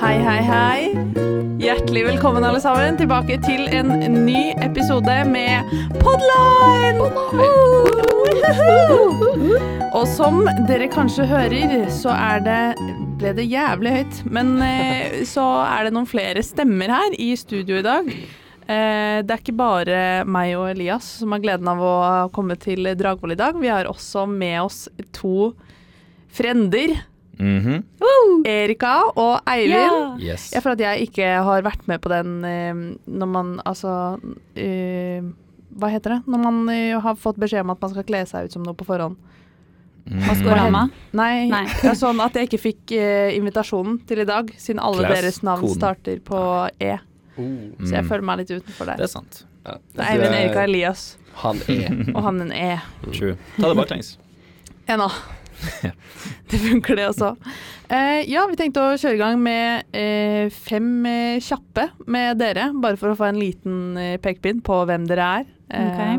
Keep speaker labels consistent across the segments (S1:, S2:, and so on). S1: hei. Hjertelig velkommen alle sammen tilbake til en ny episode med Podline! Woohoo! Og som dere kanskje hører, så er det ble det jævlig høyt. Men eh, så er det noen flere stemmer her i studio i dag. Eh, det er ikke bare meg og Elias som har gleden av å komme til Dragvoll i dag. Vi har også med oss to frender.
S2: Mhm.
S1: Erika og Eivind.
S2: Yes.
S1: Jeg føler at jeg ikke har vært med på den eh, når man altså eh, Hva heter det? Når man eh, har fått beskjed om at man skal kle seg ut som noe på forhånd.
S3: Maskorama.
S1: Nei,
S3: Nei.
S1: det er sånn at jeg ikke fikk eh, invitasjonen til i dag, siden alle
S2: Class
S1: deres navn
S2: koden.
S1: starter på E. Så jeg
S2: Mm.
S1: føler meg litt utenfor
S2: Det
S1: der.
S2: er sant.
S4: Ja.
S1: Det er Eivind, Erika, Elias
S4: Han er
S1: og han en E.
S2: True. Ta det baklengs.
S1: Ennå. Det funker, det også. Eh, ja, vi tenkte å kjøre i gang med eh, fem eh, kjappe med dere, bare for å få en liten eh, pekepinn på hvem dere er, eh,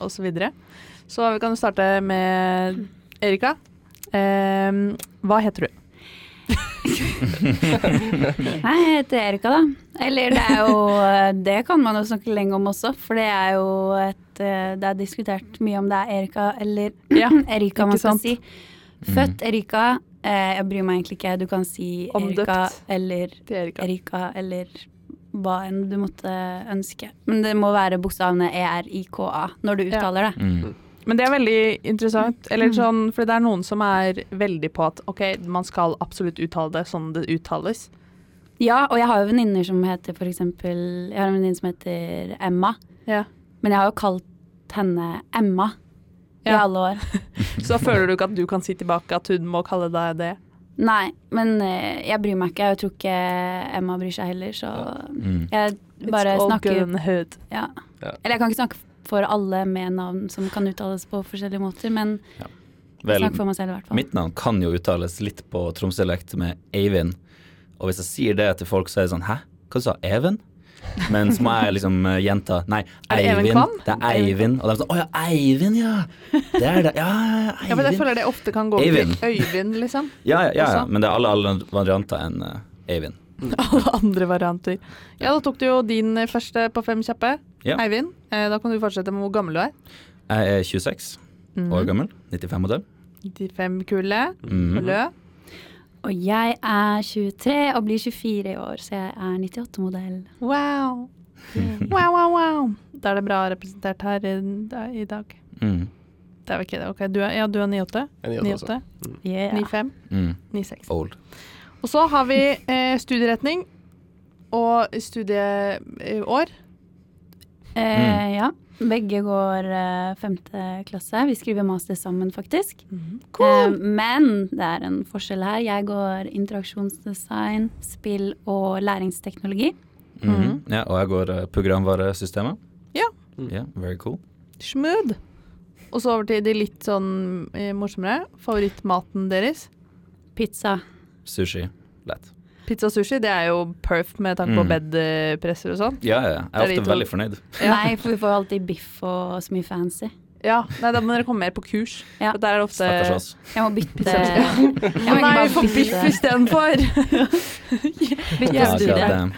S1: og så videre. Så vi kan starte med Erika. Eh, hva heter du?
S3: Nei, jeg heter Erika, da. Eller det er jo Det kan man jo snakke lenge om også, for det er jo et eh, Det er diskutert mye om det er Erika eller
S1: Ja,
S3: Erika man
S1: ikke
S3: skal
S1: sant?
S3: si. Født Erika. eh, Jeg bryr meg egentlig ikke. Du kan si
S1: Omdøpt.
S3: Erika eller
S1: Det er Erika.
S3: Erika eller hva enn du måtte ønske. Men det må være bokstavene E ERIKA når du
S1: Ja.
S3: uttaler det.
S2: Mm.
S1: Men det er veldig interessant, eller sånn, for det er noen som er veldig på at ok, man skal absolutt uttale det sånn det uttales.
S3: Ja, og jeg har jo venninner som heter for eksempel Jeg har en venninne som heter Emma.
S1: Ja.
S3: Men jeg har jo kalt henne Emma i
S1: Ja.
S3: alle år.
S1: Så da føler du ikke at du kan si tilbake at hun må kalle deg det?
S3: Nei, men eh, jeg bryr meg ikke. Jeg tror ikke Emma bryr seg heller, så
S2: Mm.
S3: jeg bare
S1: It's all good in
S3: snakker
S1: the hood.
S3: ja.
S4: Ja.
S3: Eller jeg kan ikke snakke for alle med navn som kan uttales på forskjellige måter, men
S2: Vel,
S3: snakk for meg selv i hvert fall.
S2: mitt navn kan jo uttales litt på tromsdialekt med Eivind. Og hvis jeg sier det til folk, så er det sånn Hæ, hva sa du? Even? Men så må jeg liksom eh, gjenta Nei,
S1: Er det Even Kvam?
S2: Eivind. Det er Eivind. Og de er sånn Å ja, Eivind, ja. Det er det. Ja, ja, ja,
S1: Ja, men jeg
S2: Eivind.
S1: føler det ofte kan gå over
S2: Eivind.
S1: til Øyvind, liksom.
S2: Ja, ja, ja, ja.
S1: Også.
S2: Men det er alle, alle varianter enn eh, Eivind.
S1: Alle andre varianter. Ja, da tok du jo din eh, første på fem kjappe.
S2: Ja.
S1: Eivind, eh, da kan du fortsette med hvor gammel du er.
S2: Jeg er 26
S1: Mhm.
S2: år gammel. 95-modell.
S1: 95 kule.
S2: Mhm.
S1: Lø.
S3: Og jeg er 23 og blir 24 i år, så jeg er 98-modell.
S1: Wow. Wow, wow, wow. Da er det bra representert her i, da- i dag.
S2: Mm.
S1: Det er vel ikke det. Ok, du er, ja, du er 98.
S4: en
S1: 98.
S3: Yeah.
S1: 95.
S2: Mm.
S1: 96.
S2: Old.
S1: Og så har vi eh, studieretning og studieår.
S3: Eh, ja. Begge går eh, femte klasse. Vi skriver master sammen, faktisk. Eh, men det er en forskjell her. Jeg går interaksjonsdesign, spill og læringsteknologi.
S2: Mhm. Ja, og jeg går eh, programvaresystemet.
S1: Ja.
S2: Ja, very cool.
S1: Smooth. Og så over til de litt sånn eh, morsommere. Favorittmaten deres.
S3: Pizza.
S2: Sushi. Lett.
S1: Pizza og sushi, det er jo perf med tanke på
S2: Mm.
S1: bedpresser og sånn.
S2: Ja, ja, ja. Jeg
S1: Det er
S2: er
S1: de to.
S2: ofte veldig fornøyd.
S3: Nei, for vi får alltid biff og så mye fancy.
S1: Ja, nei, da må dere komme mer på kurs.
S3: Ja.
S1: For der er det ofte
S2: Stakkars oss.
S3: Jeg må bytte
S1: Pizza.
S3: Jeg må egentlig
S1: Nei,
S3: bare
S1: vi får biff
S3: bytte,
S1: istedenfor! Ja,
S2: Ah,
S3: bytte
S1: det er
S3: studie.
S2: goddamn.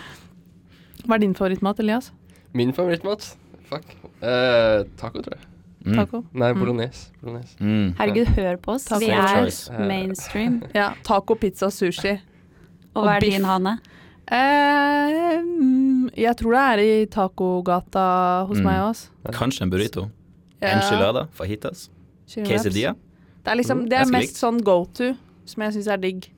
S1: Hva er din favorittmat, Elias?
S4: Min favorittmat? Fuck. Eh, taco, tror jeg.
S2: Mm.
S1: Taco?
S4: Nei, bolognese. bolognese.
S2: Mm.
S3: Herregud, hør på oss.
S1: Takk.
S3: Vi
S2: Same
S3: er
S2: choice.
S3: mainstream.
S1: Ja, taco, pizza, sushi.
S3: Og
S1: Og
S3: hva er
S1: biff.
S3: din, Hanne?
S1: Eh, mm, jeg tror det er i tacogata hos
S2: Mm.
S1: meg også.
S2: Kanskje en burrito.
S1: Ja.
S2: Enchilada. Fajitas.
S1: Chicken wraps.
S2: Quesadilla.
S1: Det er liksom, det er
S2: Ganske
S1: mest
S2: likt.
S1: sånn go to, som jeg syns er digg.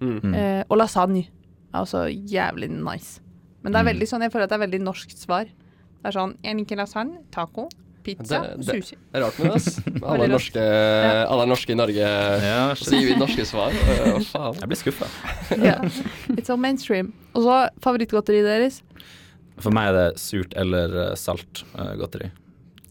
S4: Mm.
S2: Mm.
S1: Eh, og lasagne er også jævlig nice. Men det er
S2: Mm.
S1: veldig sånn, jeg føler at det er veldig norsk svar. Det er sånn, jeg liker lasagne, taco, pizza,
S4: Det- det-
S1: sushi.
S4: Det er rart med det, ass. Alle
S1: Veldig
S4: er
S1: rart.
S4: norske, alle er norske i Norge.
S2: Ja,
S4: Og så gir
S2: shit.
S4: vi norske svar. Eh, Hva faen?
S2: Jeg blir skuffa.
S1: Ja. It's all mainstream. Og så favorittgodteriet deres.
S2: For meg er det surt eller eh, salt eh, godteri.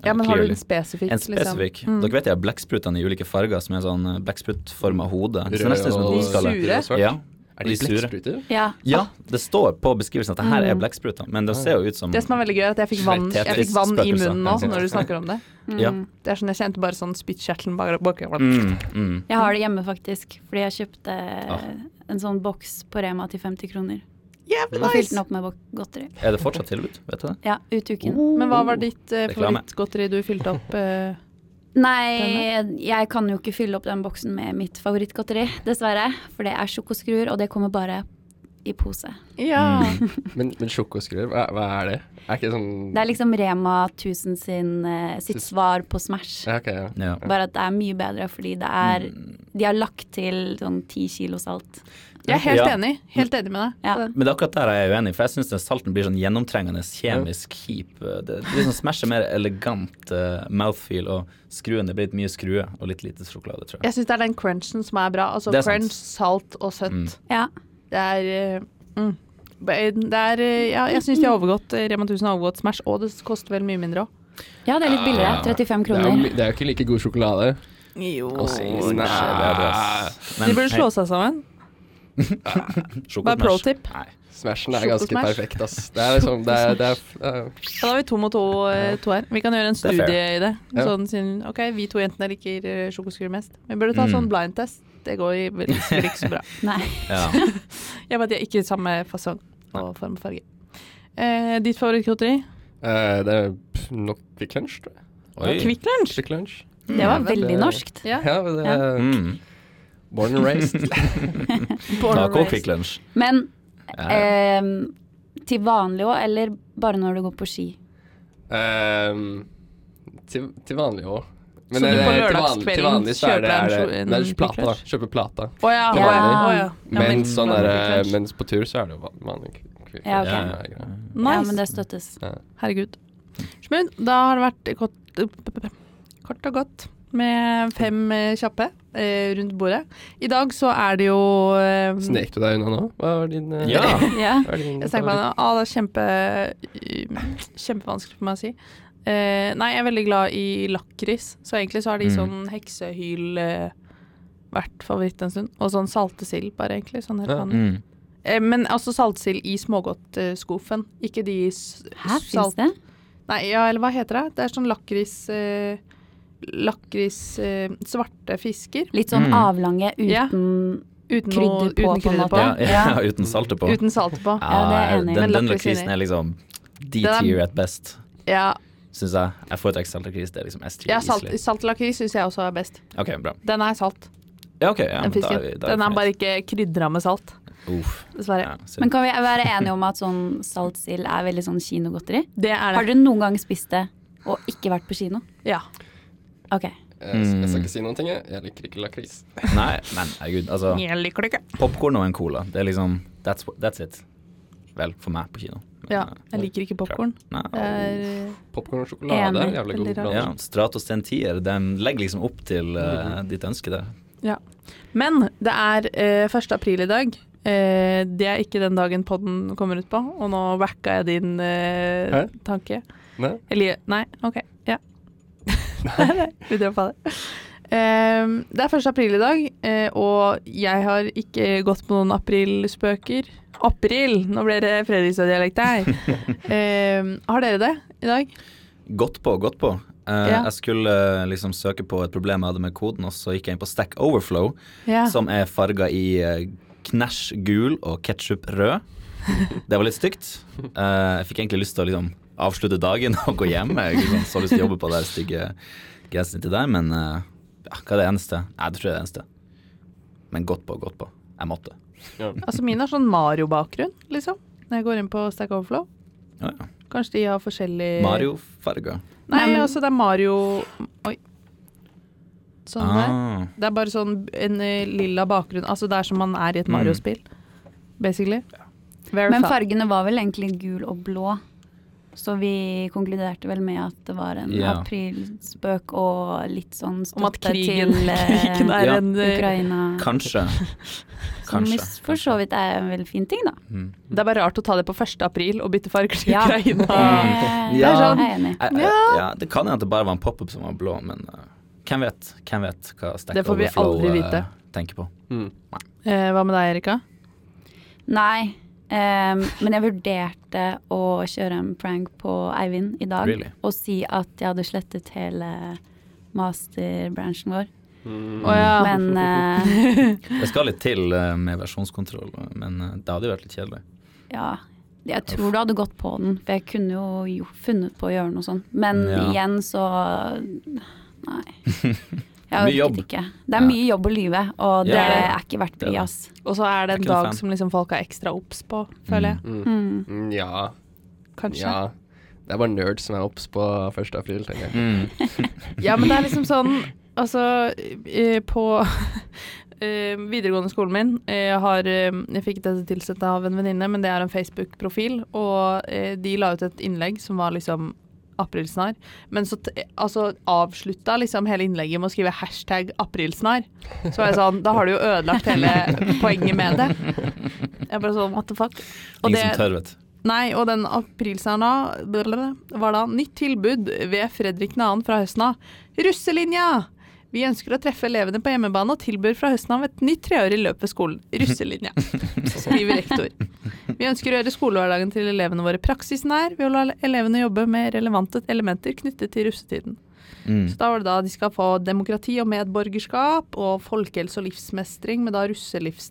S1: Ja,
S2: Eh,
S1: men har du
S2: clearly.
S1: en spesifikk?
S2: en spesifikk.
S1: Liksom? Mm.
S2: Dere vet jeg har blekksprutene i ulike farger, som er sånn eh, blekkspruttforma hode. Så det er nesten som et
S4: og-
S2: hodeskalle.
S1: Sure.
S4: Svart.
S2: Ja.
S4: Er de
S2: de sure?
S4: blekkspruter?
S3: Ja.
S2: Ja, det står på beskrivelsen at det her er blekkspruter, men det ser jo ut som
S1: Mm. Det som er veldig gøy, er at jeg fikk vann, jeg fikk vann i munnen nå når du snakker om det.
S2: Ja.
S3: Mm.
S1: Det er sånn, Jeg kjente bare sånn spyttkjertelen bak bak-
S2: Mm, mm.
S3: Jeg har det hjemme, faktisk. Fordi jeg kjøpte
S2: Ah.
S3: en sånn boks på Rema til 50 kroner.
S1: Jævlig
S3: Og fylte den
S1: nice!
S3: opp med bo- godteri.
S2: Er det fortsatt tilbud? Vet du det?
S3: Ja, ut uken.
S1: Men hva var ditt eh,
S2: Reklame. Mm.
S1: favorittgodteri du fylte opp? eh?
S3: Nei, jeg kan jo ikke fylle opp den boksen med mitt favorittgodteri, dessverre. For det er sjokoskruer, og det kommer bare i pose.
S1: ja.
S2: Mm,
S4: Men, men sjokoskruer, hva, hva er det? Er ikke sånn
S3: Det er liksom Rema 1000 sin, eh, sitt svar på Smash.
S4: Ja, ok, ja.
S2: Ja.
S3: Bare at det er mye bedre, fordi det er De har lagt til sånn ti kilo salt.
S1: Jeg er helt
S2: Ja.
S1: enig. Helt enig med deg.
S3: Ja.
S1: på den.
S2: Men det er akkurat der jeg er uenig, for jeg syns den salten blir sånn gjennomtrengende, kjemisk kjip. Det, det er liksom smasher mer elegant eh, mouthfeel, og skruen det blir litt mye skrue og litt lite sjokolade, tror jeg.
S1: Jeg syns det er den crunchen som er bra. Altså
S2: Det er sant.
S1: crunch, salt og søtt.
S2: Mm.
S3: Ja.
S1: Det er eh, mm. Det er eh, Ja, jeg syns de har overgått eh, Rema 1000 har overgått Smash, og det koster vel mye mindre òg.
S3: ja, det er litt billigere.
S4: Ah,
S3: 35
S4: Det er, jo,
S3: kroner.
S4: mi- det er jo ikke like god sjokolade.
S1: Jo.
S4: Åh,
S2: Nei, det er det, ass. Men,
S1: De burde slå seg sammen.
S2: seg
S1: Bare pro tip.
S2: Nei.
S4: Smashen er ganske
S1: Sjokosmash.
S4: perfekt, ass. Det er liksom Det er, det er, eh,
S1: Ja, da er vi to mot to, eh, to her. Vi kan gjøre en
S2: er fair.
S1: studie i det.
S4: Ja.
S1: Sånn siden OK, vi to jentene liker eh, sjokoskurer mest. Vi burde ta
S2: Mm.
S1: sånn blind test. Det går i- vel- vel ikke så bra.
S3: Nei.
S2: Ja.
S1: Jeg vet de har ikke samme fasong og form og farge. Eh, ditt favorittgodteri?
S4: eh, det er pff, nok Kvikk Lunsj, tror jeg.
S2: Oi.
S1: Kvikk Lunsj.
S4: Kvikk Lunsj.
S3: Det var
S4: det-
S3: veldig norskt.
S1: Ja.
S4: Ja, men det er
S2: Mm.
S4: Born and raised.
S1: Born and
S2: Taco
S1: raised.
S2: Kvikk Lunsj.
S3: Men
S2: Ja.
S3: ehm, til vanlig òg, eller bare når du går på ski?
S4: Ehm, til, til vanlig òg.
S1: Så du på
S4: til
S1: lørdagskvelden
S4: vanlig- til vanlig så er det, er
S1: kjøper
S4: det,
S1: en
S4: det er
S1: sjo- en
S4: plata, da.
S1: Kvikk
S4: Kjøper plata.
S1: Å ja.
S4: Til
S1: å ja,
S4: vanlig.
S1: å ja. Ja,
S4: Men sånn
S1: Kvikk
S4: er
S1: Lunsj.
S4: det Mens på tur så er det jo van- vanlig Kvikk
S3: Ja, ok.
S4: Lunsj. Det er greit.
S3: Ja,
S1: Nice.
S3: men det støttes.
S1: Herregud. Smund, da har det vært kort, kort og godt med fem eh, kjappe eh, rundt bordet. I dag så er det jo eh,
S4: Snek du deg unna nå? Hva var din eh,
S2: Ja.
S3: Ja.
S4: hva er din
S1: Jeg tenker på det. Ah, det er kjempe, eh, kjempevanskelig for meg å si. Eh, nei, jeg er veldig glad i lakris, så egentlig så har de
S2: Mm.
S1: sånn heksehyl eh, vært favoritt en stund. Og sånn saltesild, bare egentlig. Sånn helt
S4: Ja.
S1: vanlig.
S2: Mm.
S1: Eh, men altså saltesild i smågodtskuffen, ikke de s-
S3: Her
S1: salt-
S3: fins det.
S1: Nei, ja, eller hva heter det? Det er sånn lakris eh, Lakris eh, svarte fisker.
S3: Litt sånn
S2: Mm.
S3: avlange
S1: Ja.
S3: uten
S1: Uten,
S3: Krydder
S1: noe,
S3: på,
S1: uten
S3: på en
S1: krydder
S3: måte.
S1: på.
S2: Ja, ja,
S3: Ja.
S2: uten saltet på.
S1: Uten salt på.
S3: Ja, det er jeg enig
S2: Den,
S3: i.
S1: Men
S2: den
S1: lakris
S2: lakrisen
S1: inni.
S2: er liksom
S1: Den er-
S2: D-tier at best,
S1: Ja,
S2: syns jeg. Jeg foretrekker saltlakris, det er liksom S-tier.
S1: ja salt,
S2: easily.
S1: saltlakris syns jeg også er best.
S2: OK, bra.
S1: Den er salt,
S2: Ja, ok. Ja,
S1: den
S2: da
S1: fisken.
S2: er vi, da
S1: den
S2: vi
S1: er bare
S2: fornøyd.
S1: ikke krydra med salt,
S2: Uff.
S1: dessverre.
S2: Ja, synd.
S3: Men kan vi være enige om at sånn saltsild er veldig sånn kinogodteri?
S1: Det er
S3: Har
S1: det.
S3: dere noen gang spist det og ikke vært på kino?
S1: Ja.
S3: Ok.
S4: Eh, Jeg, jeg skal ikke si noen ting, jeg. Jeg liker ikke lakris.
S2: Nei, men herregud, altså.
S1: Jeg liker det ikke.
S2: Popkorn og en cola, det er liksom That's, wh- that's it. Vel, for meg på kino. Men,
S1: Ja,
S2: eh,
S1: jeg liker ikke popkorn.
S2: Nei,
S1: Det er eh,
S4: Popkorn og sjokolade er
S3: Enig.
S4: jævlig god
S1: Veldig rart.
S4: blanding.
S2: ja, Stratos den tier, den legger liksom opp til eh,
S1: Mm.
S2: ditt ønske der.
S1: Ja. Men det er eh, 1. april i dag. Eh, det er ikke den dagen podden kommer ut på, og nå wacka jeg din eh,
S4: Hæ?
S1: tanke.
S4: Nei?
S1: Eller Nei, OK. Ja. Nei, nei, vi droppa det. Ehm, det er 1. april i dag, eh, og jeg har ikke gått på noen aprilspøker. April! Nå ble det Fredrikstad-dialekt her. Ehm, har dere det i dag?
S2: Godt på, godt på. Eh,
S1: Ja.
S2: Jeg skulle eh, liksom søke på et problem jeg hadde med koden, og så gikk jeg inn på Stack Overflow,
S1: Ja.
S2: som er farga i eh, knæsj gul og ketsjup rød. Det var litt stygt. Eh, jeg fikk egentlig lyst til å liksom avslutte dagen og gå hjem. Jeg liksom, så lyst til å jobbe på den stygge genseren til deg, men eh, ja, hva er det eneste? Nei, det tror jeg er det eneste. Men godt på, godt på. Jeg måtte.
S1: Altså min har sånn Mario-bakgrunn, liksom. Når jeg går inn på Stack Overflow.
S2: Ja, ja.
S1: Kanskje de har forskjellig
S2: Mario-farga.
S1: Nei,
S3: Nei, men-
S1: altså det er Mario Oi. Sånn der.
S2: Ah,
S1: Det er bare sånn en eh, lilla bakgrunn. Altså det er som man er i et
S2: Mm.
S1: Mario-spill, basically. Very
S3: Men
S1: fun.
S3: fargene var vel egentlig gul og blå, så vi konkluderte vel med at det var en
S2: Ja.
S3: aprilspøk og litt sånn
S1: Om at
S3: støtte
S1: krigen,
S3: til eh,
S1: krigen er
S2: Ja.
S1: en eh,
S3: Ukraina.
S2: kanskje.
S3: Som
S2: kanskje,
S3: mis- for så vidt er en veldig fin ting, da.
S2: Mm.
S1: Det er bare rart å ta det på 1. april og bytte farger til
S3: Ja.
S1: Ukraina.
S2: Ja.
S3: Eh, Det er sånn. Jeg er enig.
S2: Jeg- jeg- ja. Det kan hende at det bare var en pop-up som var blå, men eh, hvem vet? Hvem vet hva Stack
S1: Det får vi
S2: Overflow
S1: aldri
S2: eh,
S1: vite.
S2: tenker på.
S4: Mm.
S1: Eh, hva med deg, Erika?
S3: Nei, ehm, men jeg vurderte å kjøre en prank på Eivind i dag
S2: Really?
S3: og si at jeg hadde slettet hele masterbranchen vår.
S4: Mm.
S1: Å ja.
S3: Men eh,
S2: Det skal litt til eh, med versjonskontroll, men eh, det hadde jo vært litt kjedelig.
S3: Ja, jeg tror du hadde gått på den, for jeg kunne jo jo funnet på å gjøre noe sånt. Men
S2: Ja.
S3: igjen så Nei. Jeg
S2: Mye
S3: orket
S2: jobb.
S3: ikke. Det er
S2: Ja.
S3: mye jobb å lyve, og
S2: Ja,
S3: det
S2: ja.
S3: er ikke verdt
S2: Det er det.
S3: bry, ass.
S1: Og så er det en
S2: Jeg er ikke noe
S1: dag
S2: fan.
S1: som liksom folk er ekstra obs på, føler jeg.
S3: Mm.
S4: Mm, Ja.
S1: Kanskje.
S4: Ja. Det er bare nerds som er obs på 1. april, tenker jeg.
S2: Mm.
S1: Ja, men det er liksom sånn Altså, eh, på eh, videregående skolen min eh, har eh, Jeg fikk dette tilsendt av en venninne, men det er en Facebook-profil, og eh, de la ut et innlegg som var liksom aprilsnarr, men så t altså, avslutta liksom hele innlegget med å skrive hashtag aprilsnarr. Så var jeg sånn Da har du jo ødelagt hele poenget med det. Jeg bare sånn what the fuck. Og
S2: Ingen
S1: det-
S2: som tør, vet du.
S1: Nei, og den aprilsnaren da blablabla, var da nytt tilbud ved Fredrik 2. fra høsten av. Russelinja! Vi ønsker å treffe elevene på hjemmebane og tilbyr fra høsten av et nytt treårig løp ved skolen. Russelinja, skriver rektor. Vi ønsker å gjøre skolehverdagen til elevene våre praksisnær ved å la elevene jobbe med relevante elementer knyttet til russetiden.
S2: Mm.
S1: Så da var det da de skal få demokrati og medborgerskap og folkehelse og livsmestring med da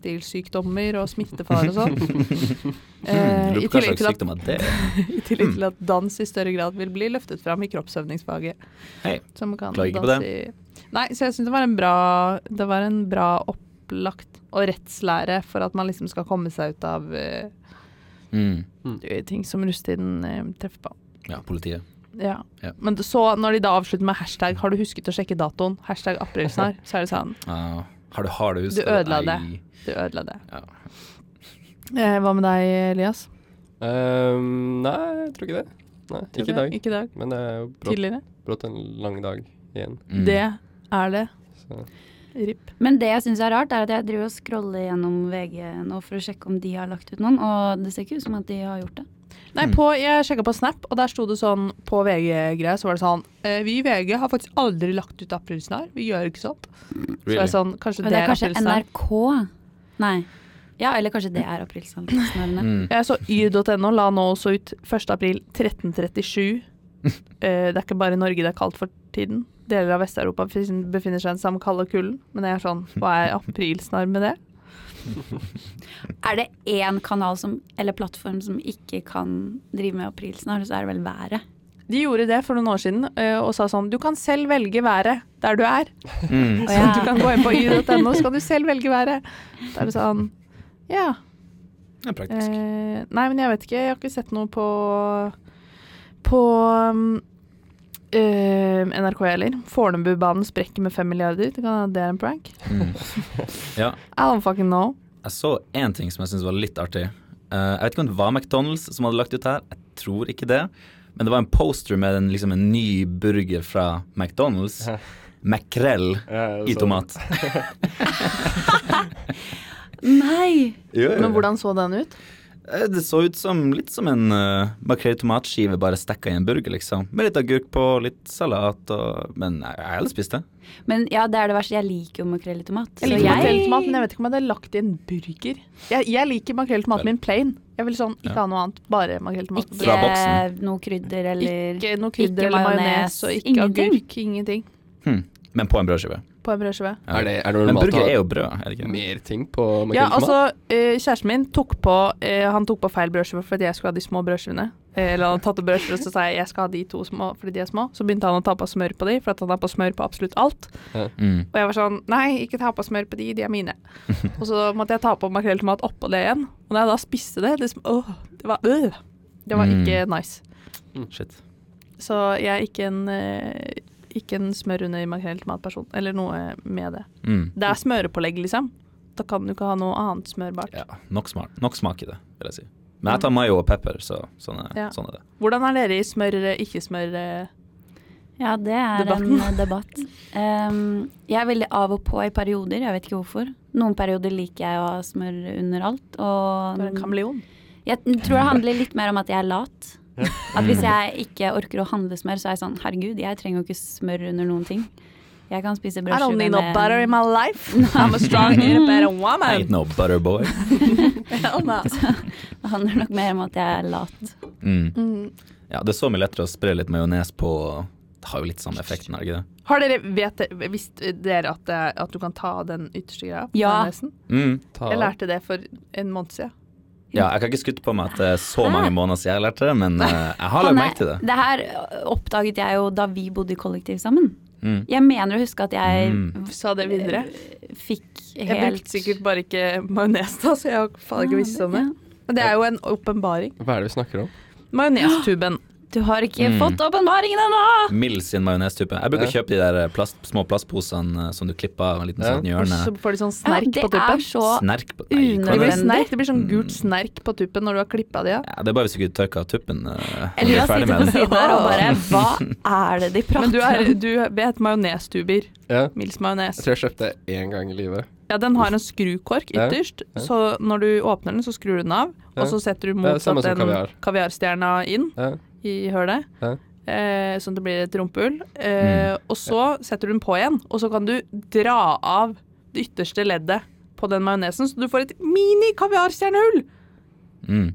S1: russelivsstilssykdommer og smittefare og sånn. Eh,
S2: mm, Lurer
S1: I
S2: på hva
S1: tillegg
S2: slags
S1: til at
S2: sykdom er det
S1: i tillegg
S2: Mm.
S1: til at dans i større grad vil bli løftet fram i kroppsøvningsfaget.
S2: Hei,
S1: Så man kan
S2: klager ikke på
S1: danse i- Nei, så jeg syns det var en bra Det var en bra opplagt og rettslære for at man liksom skal komme seg ut av eh,
S2: Mm.
S1: ting som russetiden eh, treffer på.
S2: Ja, politiet.
S1: Ja.
S2: Ja.
S1: Men d- så når de da avslutter med hashtag 'har du husket å sjekke datoen', hashtag aprilsnarr, så er det sånn
S2: Ah, har du harde hus?
S1: Du ødela det.
S2: Nei.
S1: Du ødela det.
S2: Ja.
S1: Eh, hva med deg, Elias?
S4: Ehm, nei, jeg tror ikke det. Nei, ikke i dag.
S1: Ikke i dag.
S4: Men det er jo brått,
S1: Tidligere.
S4: brått en lang dag igjen.
S2: Mm.
S1: Det er det.
S4: Så.
S1: RIP.
S3: Men det jeg syns er rart, er at jeg driver og scroller gjennom VG nå for å sjekke om de har lagt ut noen, og det ser ikke ut som at de har gjort det.
S1: Nei,
S2: Mm.
S1: på, jeg sjekka på Snap, og der sto det sånn på VG-greia, så var det sånn eh, Vi i VG har faktisk aldri lagt ut aprilsnarr. Vi gjør ikke sånt. Så var
S2: Really?
S1: jeg sånn, kanskje
S3: Og
S1: det,
S3: det er kanskje
S1: aprilsnarr.
S3: NRK Nei. Ja, eller kanskje det er aprilsnarrene.
S2: Mm.
S1: Jeg så yr.no la nå også ut 1. april 1337. Eh, det er ikke bare i Norge det er kaldt for tiden. Deler av Vest-Europa fin- befinner seg i den samme kalde kulden. Men jeg er sånn, hva er aprilsnarr med det?
S3: Er det én kanal som, eller plattform som ikke kan drive med aprilsnarr, så er det vel været.
S1: De gjorde det for noen år siden eh, og sa sånn Du kan selv velge været der du er.
S2: Mm.
S3: Og
S1: Så
S3: jeg-
S1: du kan gå inn på yr.no, så kan du selv velge været. Da er det sånn Ja.
S2: Det er praktisk.
S1: Eh, nei, men jeg vet ikke. Jeg har ikke sett noe på På um, eh, NRK heller. Fornebubanen sprekker med fem milliarder. Det kan Det er en prank.
S2: Mm. Ja,
S1: I don't fucking know.
S2: jeg så én ting som jeg syntes var litt artig. Eh, jeg vet ikke om det var McDonald's som hadde lagt ut her, jeg tror ikke det. Men det var en poster med en, liksom, en ny burger fra McDonald's.
S4: Ja.
S2: Makrell
S4: Ja,
S2: i
S4: så-
S2: tomat.
S3: Nei!
S1: Men hvordan så den ut?
S2: Eh, Det så ut som litt som en uh, makrell i tomatskive bare stekka i en burger, liksom. Med litt agurk på, litt salat og Men jeg jeg hadde spist det.
S3: Men ja, det er det verste. Jeg liker jo makrell i tomat.
S1: Jeg
S3: så
S1: liker
S2: jeg-
S1: makrell i tomat, men jeg vet ikke om jeg hadde lagt i en burger. Jeg, jeg liker makrell i tomaten min plain. Jeg vil sånn ikke ha noe annet, bare makrell i tomaten.
S2: Fra
S3: Ikke
S2: boksen.
S3: noe krydder eller
S1: Ikke noe
S3: ikke
S1: krydder eller majones
S3: majones,
S1: og ikke
S3: ingenting.
S1: agurk. Ingenting
S2: Hm. Men på en brødskive.
S1: på en brødskive.
S2: Ja.
S4: Er det, er det
S2: Men
S4: normalt
S2: burger
S4: å
S2: er
S4: ha
S2: jo brød, er det ikke?
S4: mer ting på makrell i
S1: Ja,
S4: tomat?
S1: altså, eh, kjæresten min tok på eh, Han tok på feil brødskive fordi jeg skulle ha de små brødskivene. Eh, eller han hadde tatt opp brødskiver, så sa jeg jeg skal ha de to små fordi de er små. Så begynte han å ta på smør på de, for at han har på smør på absolutt alt.
S2: Mm.
S1: Og jeg var sånn nei, ikke ta på smør på de, de er mine. Og så måtte jeg ta på makrell i tomat oppå det igjen. Og da jeg da spiste det, det, sm- åh, det var øh, Det var
S2: Mm.
S1: ikke nice.
S2: Shit.
S1: Så jeg er ikke en eh, ikke en smør under makrell i tomat-person, eller noe med det.
S2: Mm.
S1: Det er smørepålegg, liksom. Da kan du ikke ha noe annet smørbart.
S2: Ja, nok smak, nok smak i det, vil jeg si. Men jeg tar mayo og pepper, så sånn er,
S1: Ja.
S2: sånn er det.
S1: Hvordan er dere i smør, ikke smør? eh?
S3: Ja, det er
S1: Debatten.
S3: en debatt. Ehm, jeg er veldig av og på i perioder, jeg vet ikke hvorfor. Noen perioder liker jeg å ha smør under alt.
S1: Du er en
S3: Og
S1: kameleon.
S3: jeg tror det handler litt mer om at jeg er lat. At
S2: Mm.
S3: hvis jeg ikke orker å handle smør, så er jeg sånn herregud, jeg trenger jo ikke smør under noen ting. Jeg kan spise
S1: I don't need no butter
S3: brødskive
S1: in my life. I'm a strong independent
S2: Ain't
S1: woman.
S2: no butter boy.
S1: Hell no.
S3: Det handler nok mer om at jeg er lat.
S2: Mm. Ja, det er så mye lettere å spre litt majones på Det har jo litt samme effekten, er det ikke det?
S1: Har dere, vet dere, visste dere at, det, at du kan ta den ytterste greia? på
S3: Ja.
S1: majonesen?
S2: Mm.
S4: Ta
S1: Jeg lærte det for en måned siden.
S2: Ja, jeg kan ikke skryte på meg at det er så mange måneder siden jeg lærte det, men eh, jeg har
S3: Han
S2: lagt
S3: er-
S2: merke til det.
S3: Det her oppdaget jeg jo da vi bodde i kollektiv sammen.
S2: Mm.
S3: Jeg mener å huske at jeg
S2: Mm.
S1: Sa det videre.
S3: fikk Eh, helt
S1: Jeg brukte sikkert bare ikke majones, da, så jeg har faen ikke visst om det. Men det er jo en åpenbaring.
S4: Hva er det vi snakker om?
S1: Majonestuben.
S3: Du har ikke
S2: Mm.
S3: fått åpenbaringen ennå!
S2: Mild sin majonestype. Jeg bruker å
S4: Ja.
S2: kjøpe de der eh, plast, små plastposene eh, som du klipper av en liten
S4: Ja.
S2: sånn
S1: Og
S2: hjørne.
S1: så får de sånn
S3: Ja,
S1: snerk
S3: det
S1: på tuppen.
S3: er så
S2: Snerk på Nei, kan
S1: Det
S2: du-
S1: blir,
S3: Nødvendig.
S1: snerk, det blir sånn gult snerk på tuppen når du har klippa det av.
S2: ja, Det er bare hvis du ikke tørker av tuppen. eh, når du
S3: Elias
S2: er ferdig
S3: sitter
S2: med
S3: på
S2: den.
S3: siden her og bare Hva er det de
S1: Men du,
S3: prater
S1: er,
S3: om?
S1: du vet majonestuber.
S4: Ja.
S1: Mils
S4: Jeg
S1: majones.
S4: tror jeg kjøpte det én gang i livet.
S1: Ja, den har en skrukork
S4: Ja,
S1: ytterst,
S4: ja.
S1: så når du åpner den, så skrur du den av.
S4: Ja.
S1: Og så setter du
S4: Det er samme
S1: motsatt den
S4: som kaviar.
S1: kaviarstjerna inn
S4: Ja.
S1: i hølet.
S4: Ja. Mm.
S1: Eh, sånn at det blir et rumpehull. Eh, Og så setter du den på igjen, og så kan du dra av det ytterste leddet på den majonesen, så du får et mini-kaviarstjernehull!
S2: Mm.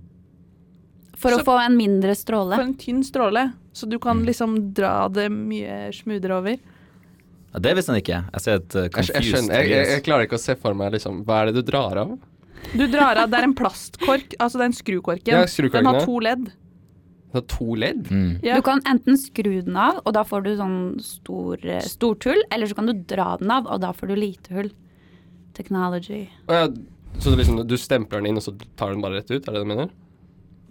S3: For å
S1: Så-
S3: få en mindre stråle.
S1: For en tynn stråle. Så du
S4: Mm.
S1: kan liksom dra det mye smoothere over.
S2: Ja, det visste han ikke. Jeg ser et eh,
S4: Jeg, jeg,
S2: confused
S4: skjønner, jeg, jeg, jeg
S2: Elias.
S4: klarer ikke å se for meg liksom Hva er det du drar av?
S1: Du drar av, Det er en plastkork, altså den skrukorken.
S4: Ja, skrukorken,
S1: den har
S4: ja.
S1: to ledd.
S4: Det er to ledd?
S2: Mm.
S1: Ja.
S3: Du kan enten skru den av, og da får du sånn stor, eh, stort hull, eller så kan du dra den av, og da får du lite hull. Technology.
S4: Å ja, så du liksom, du stempler den inn, og så tar den bare rett ut? Er det det du mener?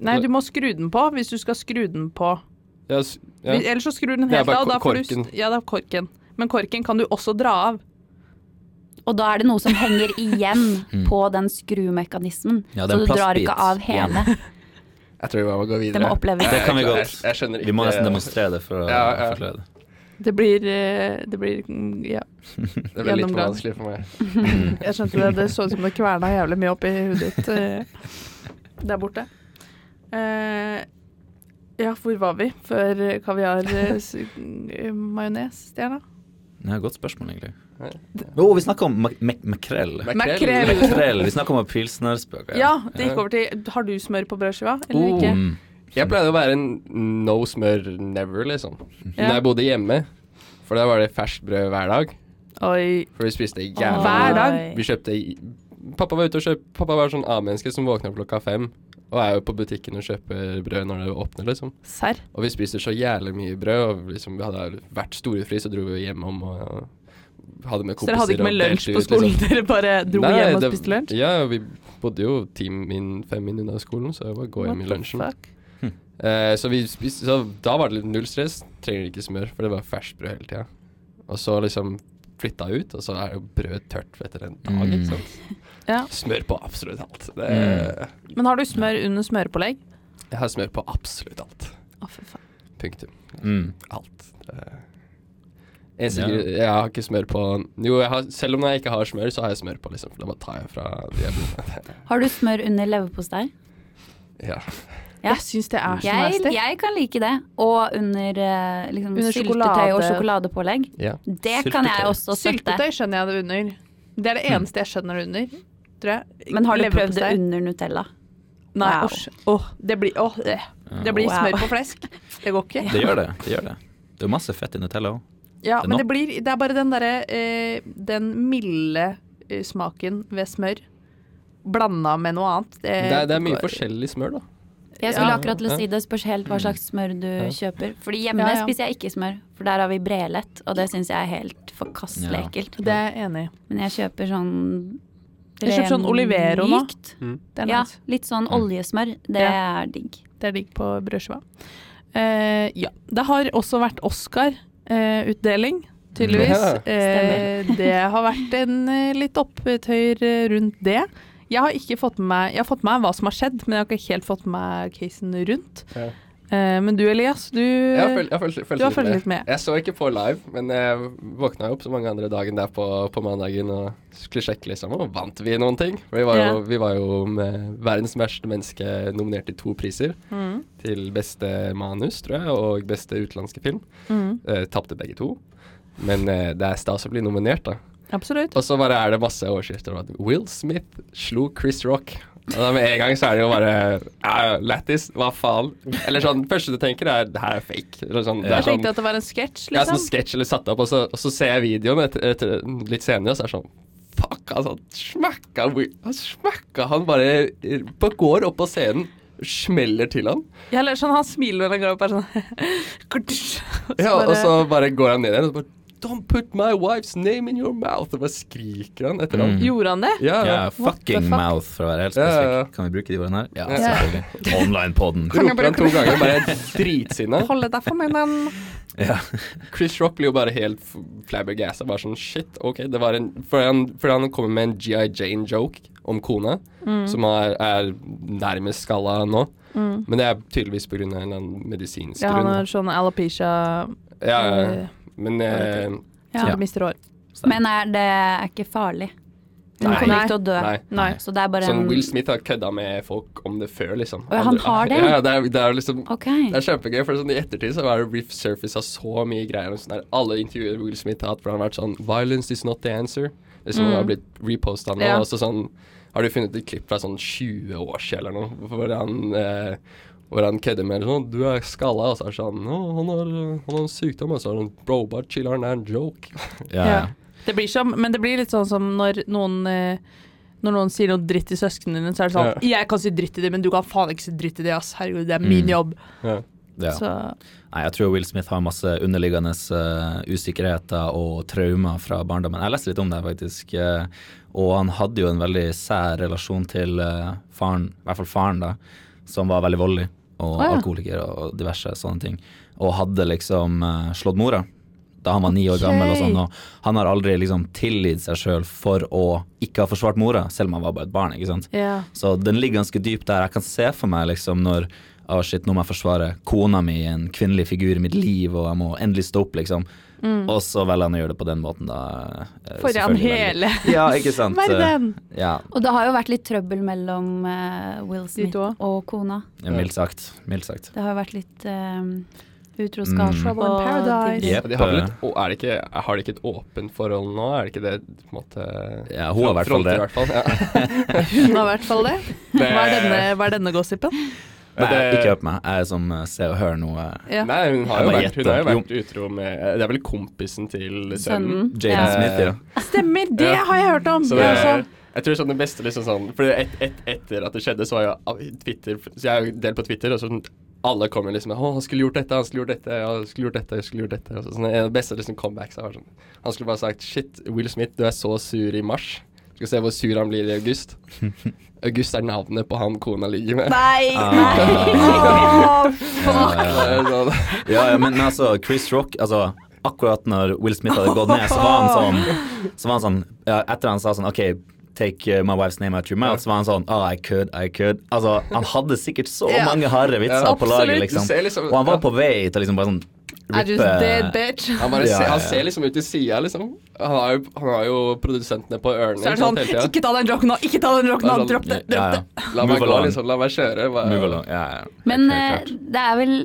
S1: Nei, du må skru den på hvis du skal skru den på.
S4: Ja, s- ja.
S1: Hvis- Ellers så skrur den
S4: Det er
S1: helt
S4: bare
S1: av. og Da får du,
S4: korken.
S1: st- ja, det er korken. Men korken kan du også dra av.
S3: Og da er det noe som henger igjen på den skrumekanismen.
S2: Mm. Ja, det er en
S3: så du drar
S2: plastbit
S3: ikke av
S2: igjen.
S3: hele.
S4: Jeg tror vi må gå
S3: Det
S4: videre.
S3: må oppleves.
S2: Det kan vi
S4: Jeg-
S2: godt.
S4: Jeg, jeg skjønner ikke
S2: Vi må nesten demonstrere det for å
S4: Ja, ja.
S2: forklare det.
S1: Det blir, eh, det blir mm, Ja,
S4: Det ble litt for
S1: Gjennomgang.
S4: vanskelig for meg.
S1: jeg skjønte det. Det så ut som det kverna jævlig mye oppi hodet ditt eh, der borte. Eh, ja, hvor var vi før kaviar eh, s- eh, majones-stjerna?
S2: Ja, godt spørsmål, egentlig.
S4: Ja.
S2: Jo, vi snakker om mak mak makrell.
S1: Makrell.
S2: Makrell. Vi snakker om pilsnerspøker.
S1: Ja, det gikk over til Har du smør på brødskiva eller
S4: Oh.
S1: ikke?
S2: Mm.
S4: Jeg pleide å være en no smør never, liksom.
S1: Ja.
S4: Når jeg bodde hjemme. For da var det ferskt brød hver dag.
S1: Oi.
S4: For vi spiste jævlig
S1: Hver dag.
S3: Oi.
S4: Vi kjøpte i- Pappa var ute og kjøpte Pappa var sånn A-menneske som våkna opp klokka fem. Og er jo på butikken og kjøper brød når det åpner, liksom.
S1: Serr.
S4: Og vi spiser så jævlig mye brød. Og liksom, vi hadde vært storefri, så dro vi hjemom og ja, hadde med
S1: Så
S4: kompiser.
S1: dere hadde ikke med
S4: og delte
S1: lunsj på
S4: ut, liksom.
S1: skolen? Dere bare dro
S4: Nei,
S1: hjem og
S4: det-
S1: spiste lunsj?
S4: Ja, vi bodde jo ti min, fem min unna skolen, så jeg bare gå hjem i
S1: What the
S4: lunsjen.
S1: fuck?
S4: Eh, så, vi spiste, så da var det litt null stress. Trenger ikke smør, for det var ferskt brød hele tida. Og så liksom flytta jeg ut, og så er jo brød tørt etter en dag.
S2: Mm.
S4: Ikke sant?
S1: Ja.
S4: Smør på absolutt alt. Det, Mm.
S1: Men har du smør under smørpålegg?
S4: Jeg har smør på absolutt alt.
S1: Å, fy faen.
S4: Punktum.
S2: Mm.
S4: Alt. Det- Jeg, sikker, jeg har ikke smør på Jo, jeg har, selv om jeg ikke har smør, så har jeg smør på, liksom. For da bare tar jeg fra de jeg bor med.
S3: Har du smør under leverpostei?
S4: Ja.
S3: Ja.
S1: Jeg syns det er så
S3: Jeg,
S1: nasty.
S3: jeg kan like det. Og under, eh, liksom,
S1: Under
S3: syltetøy og
S1: sjokolade.
S3: sjokoladepålegg.
S4: ja.
S3: Det kan jeg
S2: Syltetøy.
S3: også støtte.
S1: Syltetøy skjønner jeg det under. Det er
S4: Mm.
S1: det eneste jeg skjønner under. Tror jeg.
S3: Men har du prøvd det
S1: Leverpostei?
S3: under Nutella?
S1: Nei.
S3: Wow.
S1: Åh, åh, det blir, åh, det. det blir
S3: Wow.
S1: smør på flesk. Det går ikke.
S2: Det gjør det. Det gjør det. Det er jo masse fett i Nutella òg.
S1: Ja,
S2: Det er
S1: men
S2: nok.
S1: det, blir, det er bare den derre eh, Den milde eh, smaken ved smør blanda med noe annet.
S4: Det, er, det er mye forskjellig smør, da.
S3: Jeg skulle
S1: Ja.
S3: akkurat til å si det spørs helt hva slags smør du kjøper. Fordi hjemme
S1: Ja, ja.
S3: spiser jeg ikke smør, for der har vi brelett, og det syns jeg er helt forkastelig
S2: Ja.
S3: ekkelt.
S1: Det er jeg enig i.
S3: Men jeg kjøper sånn
S1: Jeg kjøper sånn Olivero nå.
S3: mykt.
S1: Det er
S3: Ja,
S1: nice.
S3: litt sånn oljesmør. Det
S1: Ja.
S3: er digg.
S1: Det er digg på brødskiva. Eh, ja. Det har også vært Oscar-utdeling, tydeligvis.
S4: Ja,
S1: Eh, det har vært en eh, litt opptøyer eh, rundt det. Jeg har ikke fått med meg Jeg har fått med meg hva som har skjedd, men jeg har ikke helt fått med meg casen rundt.
S4: Ja.
S1: Eh, men du Elias, du
S4: Jeg har føl- jeg har følt- følt
S1: du har
S4: litt
S1: følt
S4: med.
S1: litt med.
S4: Jeg så ikke på live, men jeg våkna jo opp som mange andre dagen der på, på mandagen og skulle sjekke liksom, og vant vi noen ting? For vi var jo,
S1: Ja.
S4: vi var jo med verdens verste menneske nominert til to priser.
S1: Mhm.
S4: Til beste manus, tror jeg, og beste utenlandske film.
S1: Mhm.
S4: Eh, Tapte begge to. Men eh, det er stas å bli nominert, da.
S1: Absolutt.
S4: Og så bare er det masse overskrifter om at Will Smith slo Chris Rock. Og da med en gang så er det jo bare ja, Lattis, hva faen? Eller sånn, første du tenker er det her er fake. Eller sånn, det
S2: Ja.
S4: er
S1: Jeg
S4: sånn,
S1: tenkte at det var en sketsj,
S4: ja, sånn
S1: liksom.
S4: sketsj eller satt opp, og så, og så ser jeg videoen etter, etter, litt senere, og så er det sånn Fuck, smakka sånn Smakka Will- Han smakka han bare eh, på går opp på scenen, smeller til han.
S1: Ja, eller sånn, han smiler når han går opp her sånn
S4: Ja,
S1: bare-
S4: og så bare går han ned igjen og så bare Don't put my wife's name in your mouth! Og bare skriker han etter ham.
S2: Mm.
S1: Gjorde han det?
S4: Ja,
S2: Ja,
S4: ja.
S2: fucking
S1: fuck?
S2: mouth, for å være helt
S4: Ja, ja, ja.
S2: spesifikk. Kan vi bruke de ordene her? Ja,
S4: Ja.
S2: selvfølgelig. Online-poden.
S1: Kan jeg
S4: Roper han to
S1: bruke-
S4: ganger, bare dritsinna.
S1: Hold deg for meg, den.
S2: Ja.
S4: Chris Rock blir jo bare helt f- flabbergassa. Bare sånn shit, OK. Det var en Fordi han, fordi han kommer med en GI Jane-joke om kona, som er, er nærmest skalla nå. Men det er tydeligvis pga. en eller annen medisinsk
S1: Ja, han har
S4: grunn.
S1: sånn alopecia
S4: Ja, ja.
S1: eh,
S4: Men eh,
S1: som
S2: Ja.
S1: du mister hår.
S3: Men er det er ikke farlig. Hun
S4: Nei.
S3: kommer ikke til å dø.
S4: nei.
S1: Nei.
S3: Så det er bare
S4: Sånn
S3: en
S4: Will Smith har kødda med folk om det før, liksom.
S3: Å, ja, han har det?
S4: Ja, ja, det er, det er liksom
S3: OK.
S4: Det er kjempegøy, for sånn, i ettertid så er det Riff Surface av så mye greier. og Sånn der, alle intervjuer Will Smith har hatt, hvor han har vært sånn Violence is not the answer. Liksom,
S1: Mm.
S4: har blitt repostet nå.
S1: Ja.
S4: Og så sånn Har du funnet et klipp fra sånn 20 år siden eller noe, hvor han eh, hvor han kødder med sånn, du er skalla, og så er det sånn Å, han har, eh, han har en sykdom, og så er det sånn Bro, bare chill, han er en joke.
S2: Ja, ja.
S1: Det blir som, men det blir litt sånn som når noen eh, når noen sier noe dritt til søsknene dine, så er det sånn 'Jeg kan si dritt til det, men du kan faen ikke si dritt til det, ass. Herregud, det er min
S2: Mm.
S1: jobb.'
S4: Ja.
S2: Ja.
S1: Så
S2: Nei, jeg tror Will Smith har masse underliggende eh, usikkerheter og traumer fra barndommen. Jeg leste litt om det, faktisk. eh, og han hadde jo en veldig sær relasjon til eh, faren, i hvert fall faren, da, som var veldig voldelig
S1: Å,
S2: og
S1: ja.
S2: alkoholiker og, og diverse sånne ting. Og hadde liksom eh, slått mora da han var ni år
S1: Ok.
S2: gammel og sånn. Og han har aldri liksom tilgitt seg sjøl for å ikke ha forsvart mora, selv om han var bare et barn, ikke sant.
S1: ja.
S2: Så den ligger ganske dypt der. Jeg kan se for meg liksom når Å, shit, nå må jeg forsvare kona mi, en kvinnelig figur i mitt liv, og jeg må endelig stå opp, liksom.
S3: Mm.
S2: Og så velger han å gjøre det på den måten, da. eh,
S1: Foran
S2: selvfølgelig.
S1: hele
S2: Ja, ikke sant. eh,
S1: verden.
S2: Ja,
S3: Og det har jo vært litt trøbbel mellom eh, Will Smith
S1: to.
S3: og kona.
S2: mildt sagt. Mildt sagt.
S3: Det har jo vært litt eh,
S2: Mm.
S3: utroskap
S1: Trouble in
S3: og
S1: paradise.
S3: diverse.
S2: Yep.
S4: De har, vel et, å- er det ikke, har de ikke et åpent forhold nå? Er det ikke det på en måte
S2: Ja, hun har i hvert fall
S4: fronter
S2: det.
S4: i hvert fall, ja.
S1: Hun har i hvert fall det.
S4: Det-
S1: Hva er denne, hva er denne gossipen?
S2: Nei,
S4: Det-
S2: ikke hør på meg. Jeg er som eh, ser og hører noe.
S1: Ja.
S4: Nei, hun har
S2: Jeg
S4: jo
S2: bare
S4: vært, hun
S2: gjetter.
S4: har jo vært utro med Det er vel kompisen til sønnen.
S3: Sønnen.
S2: Jaden
S3: Ja.
S2: Smith, ja.
S1: Stemmer, det
S4: Ja.
S1: har jeg hørt om!
S4: Så
S1: Det
S4: det,
S1: er sånn.
S4: jeg tror sånn det beste liksom sånn For et, et, etter at det skjedde, så var jo all- Twitter Så jeg er jo del på Twitter, og sånn alle kommer liksom med 'Å, han skulle gjort dette, han skulle gjort dette, ja, han skulle gjort dette', han skulle gjort dette. Og så, sånn, det beste liksom comebacks var sånn Han skulle bare sagt 'Shit, Will Smith, du er så sur i mars'. Skal se hvor sur han blir i august. August er navnet på han kona ligger med.
S3: Nei!
S2: Ah.
S3: Åh,
S2: Ja,
S4: Det
S2: ja, ja.
S4: er sånn,
S2: Ja, ja, men, men altså, Chris Rock altså, Akkurat når Will Smith hadde gått ned, så var han sånn, så var han sånn ja, Etter han sa sånn OK, take uh, my wife's name out your mouth, så var han sånn Oh, I could, I could. Altså, han hadde sikkert så
S1: Ja.
S2: mange harde vitser
S4: Ja.
S2: på laget,
S1: Absolutt.
S2: liksom.
S4: Du ser liksom-
S2: Og han
S4: ja.
S2: var på vei til å liksom bare sånn
S1: I just dead
S2: rippe
S1: bitch.
S4: han, bare
S2: Ja, ja,
S4: ser,
S2: ja.
S4: han ser liksom ut til sida, liksom. Han har jo, han har jo produsentene på ørene.
S1: Så er det
S4: ikke sant,
S1: sånn
S4: hele tiden.
S1: Ikke ta den joken nå! Ikke ta den joken nå!
S4: Det er sånn-
S1: Dropp det!
S2: Ja,
S1: Dropp
S2: ja.
S1: det!
S4: La meg
S2: Move
S4: gå,
S2: along.
S4: liksom. La meg kjøre. Hva-
S2: Move along. Ja, ja.
S3: Men
S2: Helt
S3: eh,
S2: klart.
S3: det er vel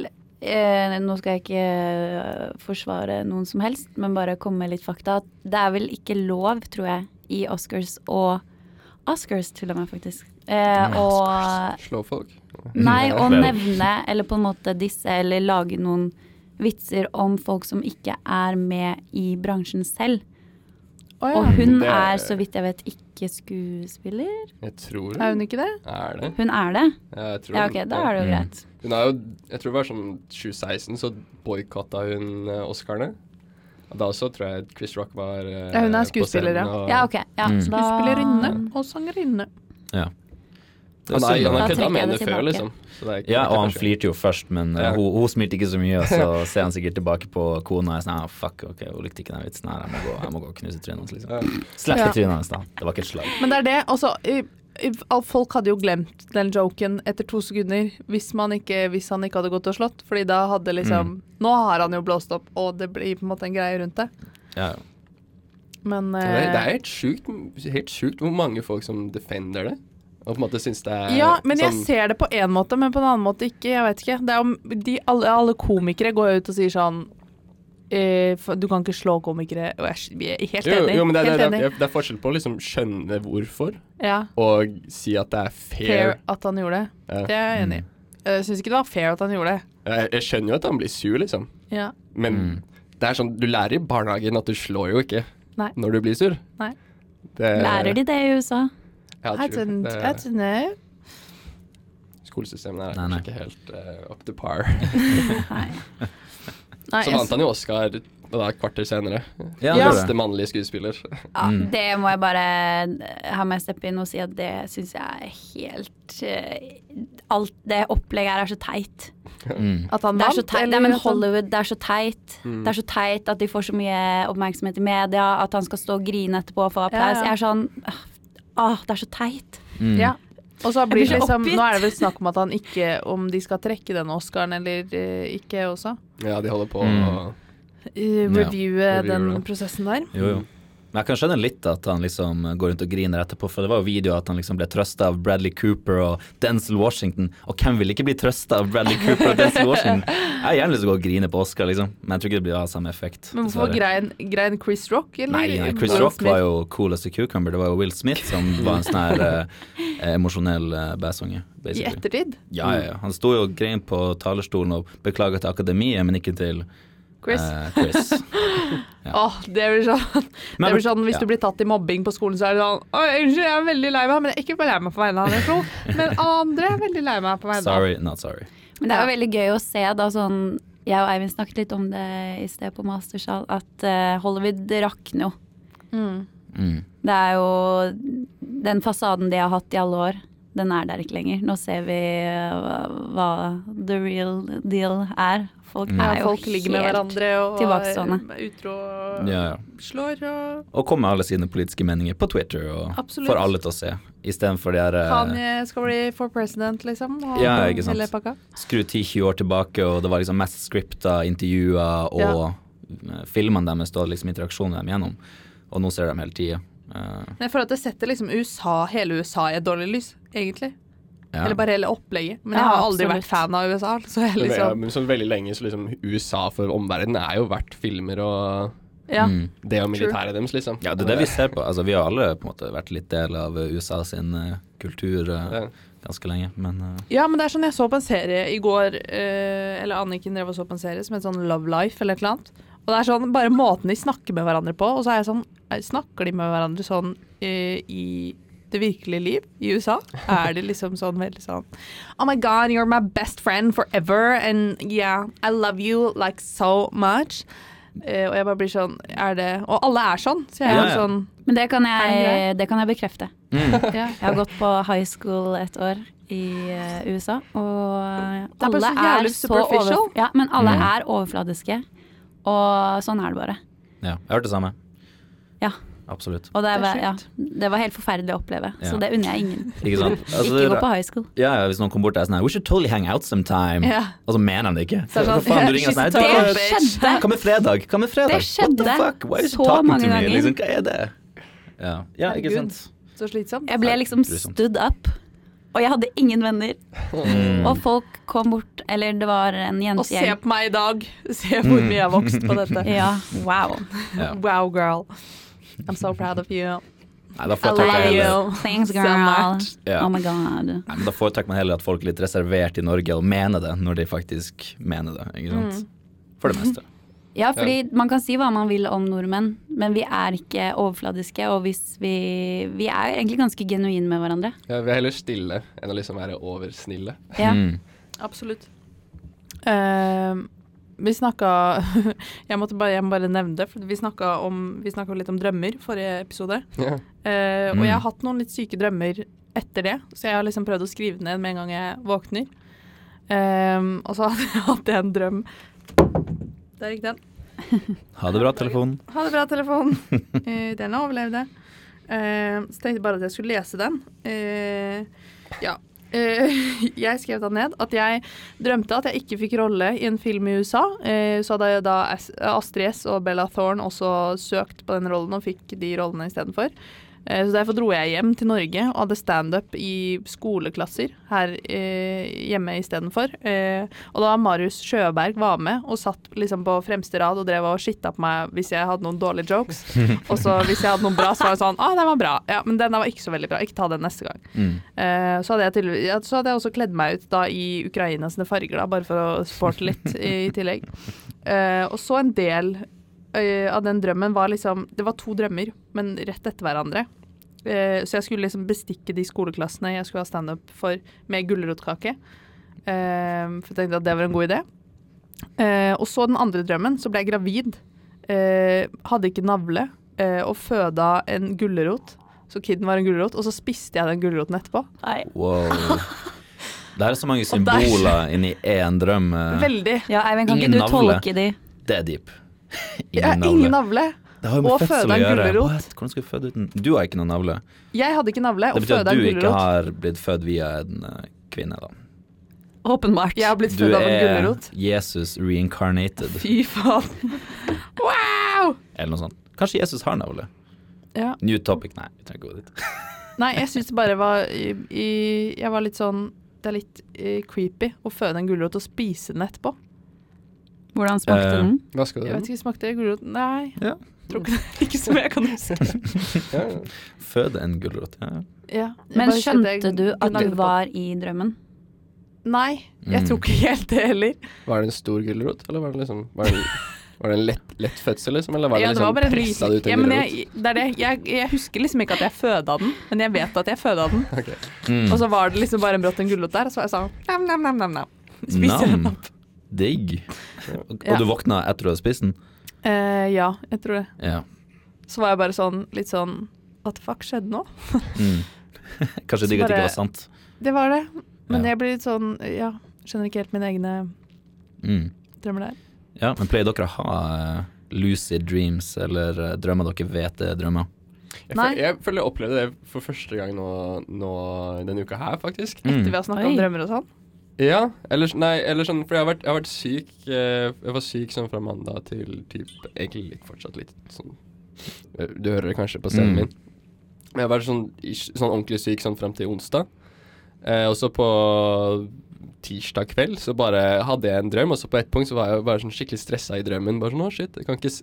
S3: eh, Nå skal jeg ikke eh, forsvare noen som helst, men bare komme med litt fakta. at Det er vel ikke lov, tror jeg, i Oscars og Oscars, til og med, faktisk. Eh, og,
S4: Slå folk.
S3: nei, å
S2: Vel.
S3: nevne eller på en måte disse, eller lage noen vitser om folk som ikke er med i bransjen selv.
S1: Å
S3: Og
S1: ja.
S3: hun
S4: Det-
S3: er, så vidt jeg vet, ikke skuespiller.
S4: Jeg tror
S1: Er hun ikke det?
S4: Er det?
S3: Hun er det?
S4: Jeg tror,
S3: Ja, OK, da er det jo
S2: Mm.
S3: greit.
S4: Hun har jo Jeg tror det var sånn 2016, så boikotta hun eh, Oscarene. Og da også tror jeg Chris Rock var eh,
S1: Ja, hun er
S4: på
S1: skuespiller,
S4: scenen,
S1: ja.
S4: og-
S3: Ja, OK. Ja,
S2: Mm.
S3: da-
S1: Skuespillerinne og sangerinne.
S2: Det
S4: Han
S2: var
S4: har-
S2: synd,
S4: han
S2: da.
S4: har
S3: Da
S4: kødda
S3: trekker jeg
S4: med
S3: det
S4: det før,
S3: tilbake.
S4: liksom. Så det er ikke-
S2: ja, og han
S4: kanskje-
S2: flirte jo først, men uh,
S4: Ja.
S2: hun, hun smilte ikke så mye, og så ser han sikkert tilbake på kona og er sånn ah, Fuck, ok, hun likte ikke den vitsen her, jeg må gå, jeg må gå og knuse trynet hans,
S4: Ja.
S2: liksom. Slett
S1: Ja.
S2: i trynet hans, da. Det var ikke et slag.
S1: Men det er det. Altså, i- i- all- folk hadde jo glemt den joken etter to sekunder hvis, man ikke, hvis han ikke hadde gått og slått. Fordi da hadde liksom
S4: Mm.
S1: Nå har han jo blåst opp, og det blir på en måte en greie rundt det.
S2: Ja, ja.
S1: Men
S4: Så Det, det
S1: eh,
S4: er helt sjukt, helt sjukt hvor mange folk som defender det. Og på en måte syns det er
S1: ja, men jeg
S4: sånn-
S1: ser det på én måte, men på en annen måte ikke. Jeg vet ikke. Det er om de, alle, alle komikere går jo ut og sier sånn eh, for- Du kan ikke slå komikere. Og jeg er helt
S4: jo,
S1: enig.
S4: jo, men det,
S1: helt
S4: er- det,
S1: enig.
S4: er- det er forskjell på å liksom skjønne hvorfor
S1: ja.
S4: og si at det er fair.
S1: Fair at han gjorde det.
S4: Ja. Mm.
S1: Det er jeg enig i. Jeg syns ikke det var fair at han gjorde det.
S4: Jeg, jeg skjønner jo at han blir sur, liksom.
S1: Ja.
S2: Mm.
S4: Men det er sånn, du lærer i barnehagen at du slår jo ikke
S1: Nei.
S4: når du blir sur.
S1: Nei.
S4: Det-
S3: Lærer de det i USA?
S4: Ja,
S1: I
S4: true.
S1: don't,
S4: Det-
S1: I don't know.
S4: Skolesystemet er
S2: Nei, nei.
S4: kanskje ikke helt eh, up to par.
S3: Nei. Nei,
S4: Så vant han jo Oscar og da et kvarter senere.
S2: Ja,
S1: Ja.
S2: det
S4: Beste
S2: er det.
S4: mannlige skuespiller.
S3: Ja, det må jeg bare eh, ha meg steppe inn og si at det syns jeg er helt eh, Alt det opplegget her er så teit.
S2: Mm.
S1: At han
S3: Det er så
S1: vant,
S3: teit.
S1: eller
S3: Nei, men
S1: at han-
S3: Hollywood, det er så teit. Det er så teit at de får så mye oppmerksomhet i media, at han skal stå og grine etterpå og få
S1: Ja,
S3: applaus.
S1: ja.
S3: Jeg er sånn øh, Åh, det er så teit.
S2: Mm.
S1: Ja. Og så blir
S3: blir
S1: det
S3: så
S1: liksom,
S3: oppgitt.
S1: nå er det vel snakk om at han ikke Om de skal trekke den Oscaren eller eh, ikke også.
S4: Ja, de holder på
S2: Mm.
S4: å
S1: Eh, Reviewe
S4: Ja,
S1: den
S4: reviewe.
S1: prosessen der.
S2: Jo, jo. Men jeg kan skjønne litt at han liksom går rundt og griner etterpå, for det var jo videoer at han liksom ble trøsta av Bradley Cooper og Denzil Washington. Og hvem vil ikke bli trøsta av Bradley Cooper og Denzil Washington? Jeg har gjerne lyst til å gå og grine på Oscar, liksom, men jeg tror ikke det blir av samme effekt.
S1: Men hvorfor
S2: dessverre.
S1: grein, grein Chris Rock, eller?
S2: Nei, nei, Chris
S1: Will
S2: Rock
S1: Smith?
S2: var jo cool as a cucumber. Det var jo Will Smith som var en sånn her eh, emosjonell eh, bæsunge.
S1: I
S2: basically.
S1: ettertid.
S2: Ja, ja, ja. Han sto jo og grein på talerstolen og beklaga til akademiet, men ikke til
S1: Chris.
S2: eh, Chris. ja.
S1: Åh, det blir sånn, det blir sånn Hvis
S2: ja.
S1: du blir tatt i mobbing på skolen, så er det sånn «Oi, Unnskyld, jeg er veldig lei meg, men jeg er ikke bare lei meg på vegne av Neslo, men alle andre er veldig lei meg på vegne av
S2: Sorry, not sorry.
S3: Men det er jo
S1: Ja.
S3: veldig gøy å se da sånn Jeg og Eivind snakket litt om det i sted på Mastersal, at eh, Hollywood rakner jo.
S2: Mm.
S3: Det er jo Den fasaden de har hatt i alle år, den er der ikke lenger. Nå ser vi eh, hva- hva the real deal er. Folk
S2: Mm.
S1: Ja,
S3: er jo
S1: folk ligger med
S3: helt-
S1: hverandre og
S3: tilbakestående.
S1: er utro og
S2: Ja, ja.
S1: slår og
S2: Og komme med alle sine politiske meninger på Twitter og
S1: Absolutt.
S2: får alle til å se. Istedenfor de her eh,
S1: Kanye skal bli for president, liksom. Og
S2: Ja, ikke sant.
S1: hele pakka.
S2: skru 10-20 år tilbake, og det var liksom mest scripta intervjuer og
S1: Ja.
S2: eh, filmene deres og liksom interaksjonen dem gjennom. Og nå ser de hele tida. Eh,
S1: Men jeg føler at det setter liksom USA, hele USA i et dårlig lys, egentlig.
S2: ja.
S1: Eller bare hele opplegget. Men
S3: Ja,
S1: jeg har aldri
S3: absolutt.
S1: vært fan av USA. Så jeg
S4: Men, ja,
S1: liksom
S4: men sånn veldig lenge så liksom USA for omverdenen er jo verdt filmer og
S1: Ja.
S2: Mm.
S4: det og militæret deres, liksom.
S2: Ja, det er det vi ser på. Altså, vi har alle på en måte vært litt del av eh, USA sin eh, kultur eh,
S4: Ja.
S2: ganske lenge, men eh,
S1: ja, men det er sånn jeg så på en serie i går, eh, eller Anniken drev og så på en serie som het sånn Love Life eller et eller annet. Og det er sånn bare måten de snakker med hverandre på, og så er jeg sånn eh, Snakker de med hverandre sånn eh, i det virkelige liv i USA? Er de liksom sånn veldig sånn Oh my god, you're my best friend forever, and yeah, I love you like so much. Eh, og jeg bare blir sånn Er det Og alle er sånn, så jeg er
S2: Ja,
S1: jo
S2: ja.
S1: sånn
S3: Men det kan,
S1: Er
S3: jeg, det kan jeg bekrefte.
S2: Mm.
S3: Jeg har gått på high school et år i eh, USA, og
S1: Det er bare
S3: alle
S1: så jævlig
S3: er så
S1: superficial.
S3: over, ja, men alle
S2: Mm.
S3: er overfladiske, og sånn er det bare.
S2: ja. Jeg har hørt det samme.
S3: Ja.
S2: Absolutt.
S3: Og det,
S1: Det er
S3: var, ja,
S1: sjukt.
S3: det var helt forferdelig å oppleve,
S2: Ja.
S3: så det unner jeg ingen.
S2: Ikke sant? Altså,
S3: Ikke gå
S2: det-
S3: på high school.
S2: ja, ja, hvis noen kom bort og er sånn her We should totally hang out sometime.
S1: Ja.
S2: Og så mener han det ikke.
S1: Så er det sånn,
S2: Hva faen, du ringer
S1: she's
S2: sånn her,
S1: a total
S2: «Du,
S1: bitch».
S3: skjedde.
S2: Hva med fredag? Hva med fredag?
S3: Det
S2: What
S3: skjedde
S2: the fuck? Why is she
S3: så
S2: talking
S3: mange
S2: to me?
S3: ganger.
S2: Liksom, hva er det? Ja, ja ikke
S1: Herregud.
S2: sant?
S1: Så slitsomt.
S3: Jeg ble liksom
S2: Grusomt.
S3: stood up, og jeg hadde ingen venner. Og folk kom bort, eller det var en
S1: Og se
S3: jentegjeng.
S1: på meg i dag. Se hvor mye jeg har vokst på dette.
S3: Ja, wow.
S2: Mm. Ja.
S1: Wow, girl. I'm so proud of you.
S2: Nei, da
S3: I
S1: love
S2: foretrekker jeg
S1: you.
S2: heller-
S3: Thanks,
S1: So
S3: girl.
S1: much.
S2: Ja.
S3: Oh my god.
S2: Nei, men da foretrekker man heller at folk er litt reservert i Norge og mener det når de faktisk mener det. Ikke sant?
S1: Mm.
S2: For det meste.
S3: Ja, fordi man kan si hva man vil om nordmenn, men vi er ikke overfladiske, og hvis vi Vi er egentlig ganske genuine med hverandre.
S4: Ja, vi er heller stille enn å liksom være oversnille.
S3: Ja.
S2: Mm.
S1: Absolutt. Ehm, vi snakka jeg, måtte bare- jeg må bare nevne det, for vi snakka om- vi snakka litt om drømmer forrige episode.
S4: Ja.
S1: Eh,
S2: Mm.
S1: Og jeg har hatt noen litt syke drømmer etter det, så jeg har liksom prøvd å skrive ned med en gang jeg våkner. Ehm, og så hadde jeg hatt en drøm Der gikk den.
S2: Ha det bra, telefonen.
S1: Ha det bra, telefon. Eh, den overlevde. Eh, så tenkte jeg bare at jeg skulle lese den. Eh, ja. Eh, jeg skrev da ned at jeg drømte at jeg ikke fikk rolle i en film i USA. Eh, så hadde jeg da As- Astrid S og Bella Thorne også søkt på den rollen og fikk de rollene istedenfor. Eh, så derfor dro jeg hjem til Norge og hadde standup i skoleklasser her eh, hjemme istedenfor. Eh, og da Marius Sjøberg var med og satt liksom på fremste rad og drev og skitta på meg hvis jeg hadde noen dårlige jokes. Og så hvis jeg hadde noen bra, så var det sånn Å, ah, den var bra. Ja, men den der var ikke så veldig bra. Ikke ta den neste gang.
S2: Mm.
S1: Eh, så, hadde jeg til, ja, så hadde jeg også kledd meg ut da i Ukraina sine farger, da, bare for å supporte litt i, i tillegg. Eh, og så en del eh, av den drømmen var liksom Det var to drømmer, men rett etter hverandre. eh, Så jeg skulle liksom bestikke de skoleklassene jeg skulle ha standup for, med gulrotkake. Eh, for jeg tenkte at det var en god idé. Eh, og så den andre drømmen, så ble jeg gravid. Eh, hadde ikke navle, eh, og føda en gulrot. Så kiden var en gulrot, og så spiste jeg den gulroten etterpå.
S3: Nei.
S2: Wow. Det er så mange
S1: Og der-
S2: symboler inni én drøm. eh.
S1: Veldig.
S3: Ja, Eivind, kan
S2: Ingen
S3: ikke du
S2: navle.
S3: tolke de?
S2: Det er deep.
S1: Jeg har ingen navle.
S2: Det har jo med
S1: Og
S2: fødsel
S1: føde
S2: å
S1: en
S2: gjøre.
S1: gulrot.
S2: What? Hvordan skal du føde uten Du har ikke noen navle.
S1: Jeg hadde ikke navle,
S2: Det
S1: og
S2: betyr at
S1: føda
S2: du
S1: en
S2: ikke
S1: gulrot.
S2: har blitt født via en eh, kvinne, da.
S3: Åpenbart.
S1: Jeg har blitt
S2: Du
S1: født av en
S2: er
S1: gulrot.
S2: Jesus reincarnated,
S1: Fy faen. Wow!
S2: eller noe sånt. Kanskje Jesus har navle.
S1: Ja.
S2: New topic. Nei, vi trenger ikke gå dit.
S1: Nei, jeg syns det bare var i, i, Jeg var litt sånn Det er litt eh, creepy å føde en gulrot og spise den etterpå.
S3: Hvordan smakte
S2: Eh,
S3: den?
S4: Hva skal du
S1: Jeg vet ikke, smakte det gulrot? Nei.
S2: Ja.
S1: Tror ikke det. Ikke som jeg kan huske.
S4: Ja, ja.
S2: Føde en gulrot. Ja.
S1: Ja, jeg
S3: Men
S1: bare husker at jeg
S3: skjønte du at
S1: gnagde på.
S3: du var i drømmen?
S1: Nei, jeg
S2: Mm.
S1: tror ikke helt det heller.
S4: Var det en stor gulrot, eller var det liksom Var det en, var det en lett, lett fødsel, liksom? Eller var det
S1: Ja, det var
S4: liksom
S1: bare en
S4: pressa
S1: lys-
S4: ut en
S1: ja, men
S4: gulrot?
S1: jeg, det er det. Jeg, jeg husker liksom ikke at jeg føda den, men jeg vet at jeg føda den.
S4: Ok.
S2: Mm.
S1: Og så var det liksom bare en brått en gulrot der, og så var jeg sånn nam, nam, nam, nam, nam. Spiser den
S2: Nam.
S1: opp.
S2: Digg. Og,
S1: Ja.
S2: og du våkna etter du hadde spist den?
S1: Eh, ja, jeg tror det.
S2: Ja.
S1: Så var jeg bare sånn litt sånn What the fuck skjedde nå?
S2: Mm. Kanskje
S1: Så
S2: digg at det
S1: bare-
S2: ikke var sant.
S1: Det var det. Men
S2: Ja.
S1: jeg blir litt sånn Ja, skjønner ikke helt mine egne
S2: Mm.
S1: drømmer der.
S2: Ja, men pleier dere å ha eh, lucid dreams eller eh, drømmer dere vet er drømmer?
S4: Jeg,
S1: Nei.
S4: føl, jeg føler jeg opplevde det for første gang nå, nå denne uka her, faktisk.
S2: Mm.
S1: Etter vi har snakka
S3: Oi.
S1: om drømmer og sånn.
S4: Ja, eller, s- nei, eller sånn, for jeg har vært, jeg har vært syk eh, Jeg var syk sånn fra mandag til typ, egentlig litt, fortsatt litt sånn eh, Du hører det kanskje på stemmen
S2: Mm.
S4: min. Men jeg har vært sånn, ish- sånn ordentlig syk sånn fram til onsdag. Eh, og så på tirsdag kveld så bare hadde jeg en drøm, og så på et punkt så var jeg bare sånn skikkelig stressa i drømmen. Bare sånn, å shit, jeg kan ikke s-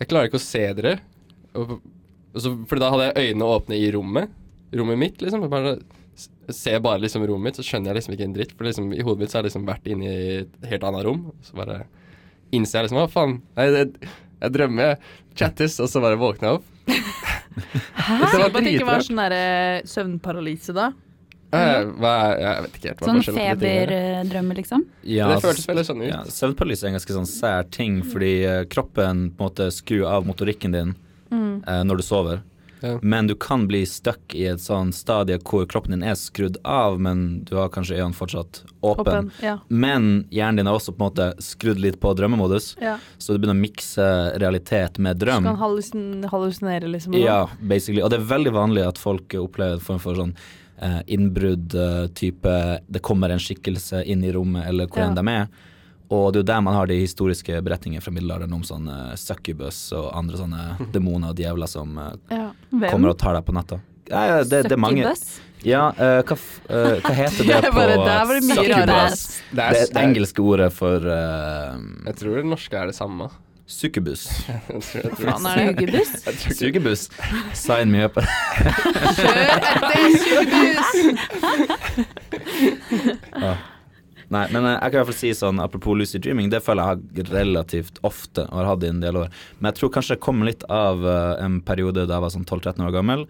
S4: Jeg klarer ikke å se dere. Og, og så, for da hadde jeg øynene åpne i rommet. Rommet mitt, liksom. Jeg bare s- ser bare liksom rommet mitt, så skjønner jeg liksom ikke en dritt. For liksom, i hodet mitt så har jeg liksom vært inne i et helt annet rom. og Så bare innser jeg liksom Hva faen? Nei, det, jeg drømmer. jeg Chattis. Og så bare våkner jeg opp.
S1: Hæ?
S4: Det var
S1: At det ikke var
S4: dritrart.
S1: sånn der eh, søvnparalyse da.
S4: Eh, Hva er, jeg vet ikke helt hva
S3: Sånn
S4: forskjellen på de tingene er.
S3: feberdrømme, liksom?
S2: Ja,
S4: Det føltes veldig sånn ut.
S2: ja, Søvnparalyse er en ganske sånn sær ting, fordi eh, kroppen på en måte skrur av motorikken din
S1: Mm.
S2: eh, når du sover.
S4: Ja.
S2: Men du kan bli stuck i et sånn stadie hvor kroppen din er skrudd av, men du har kanskje øynene fortsatt åpen.
S1: Åpen. Ja.
S2: Men hjernen din er også på en måte skrudd litt på drømmemodus,
S1: ja.
S2: så du begynner å mikse realitet med
S1: Så
S2: drøm.
S1: kan hallusin hallusinere, liksom. og
S2: Ja, basically. Og det er veldig vanlig at folk opplever en form for sånn eh, innbrudd eh, type Det kommer en skikkelse inn i rommet, eller hvor
S1: Ja.
S2: enn de er. Og det er jo der man har de historiske beretningene fra middelalderen om sånne succubus og andre sånne demoner og djevler som eh,
S1: sånn. ja. Hvem?
S2: kommer og tar deg på natta. Ja, ja, det, det er mange
S3: Succubus?
S2: Ja, eh, hva, f- eh, hva heter det
S1: Det er
S2: på
S1: bare- der var det mye
S2: succubus?
S1: rare.
S4: Det
S2: Det
S4: er,
S2: er det engelske ordet for uh,
S4: Jeg tror det norske er det samme.
S2: succubus.
S4: Jeg tror, jeg tror,
S1: Faen er det?
S3: Sugebuss?
S4: jeg tror ikke-
S2: Sugebuss. Sign me up.
S1: Kjør etter sykehus!
S2: Nei, men eh, jeg kan i hvert fall si sånn Apropos lucid dreaming, det føler jeg har relativt ofte og har hatt i en del år. Men jeg tror kanskje det kom litt av eh, en periode da jeg var sånn 12-13 år gammel.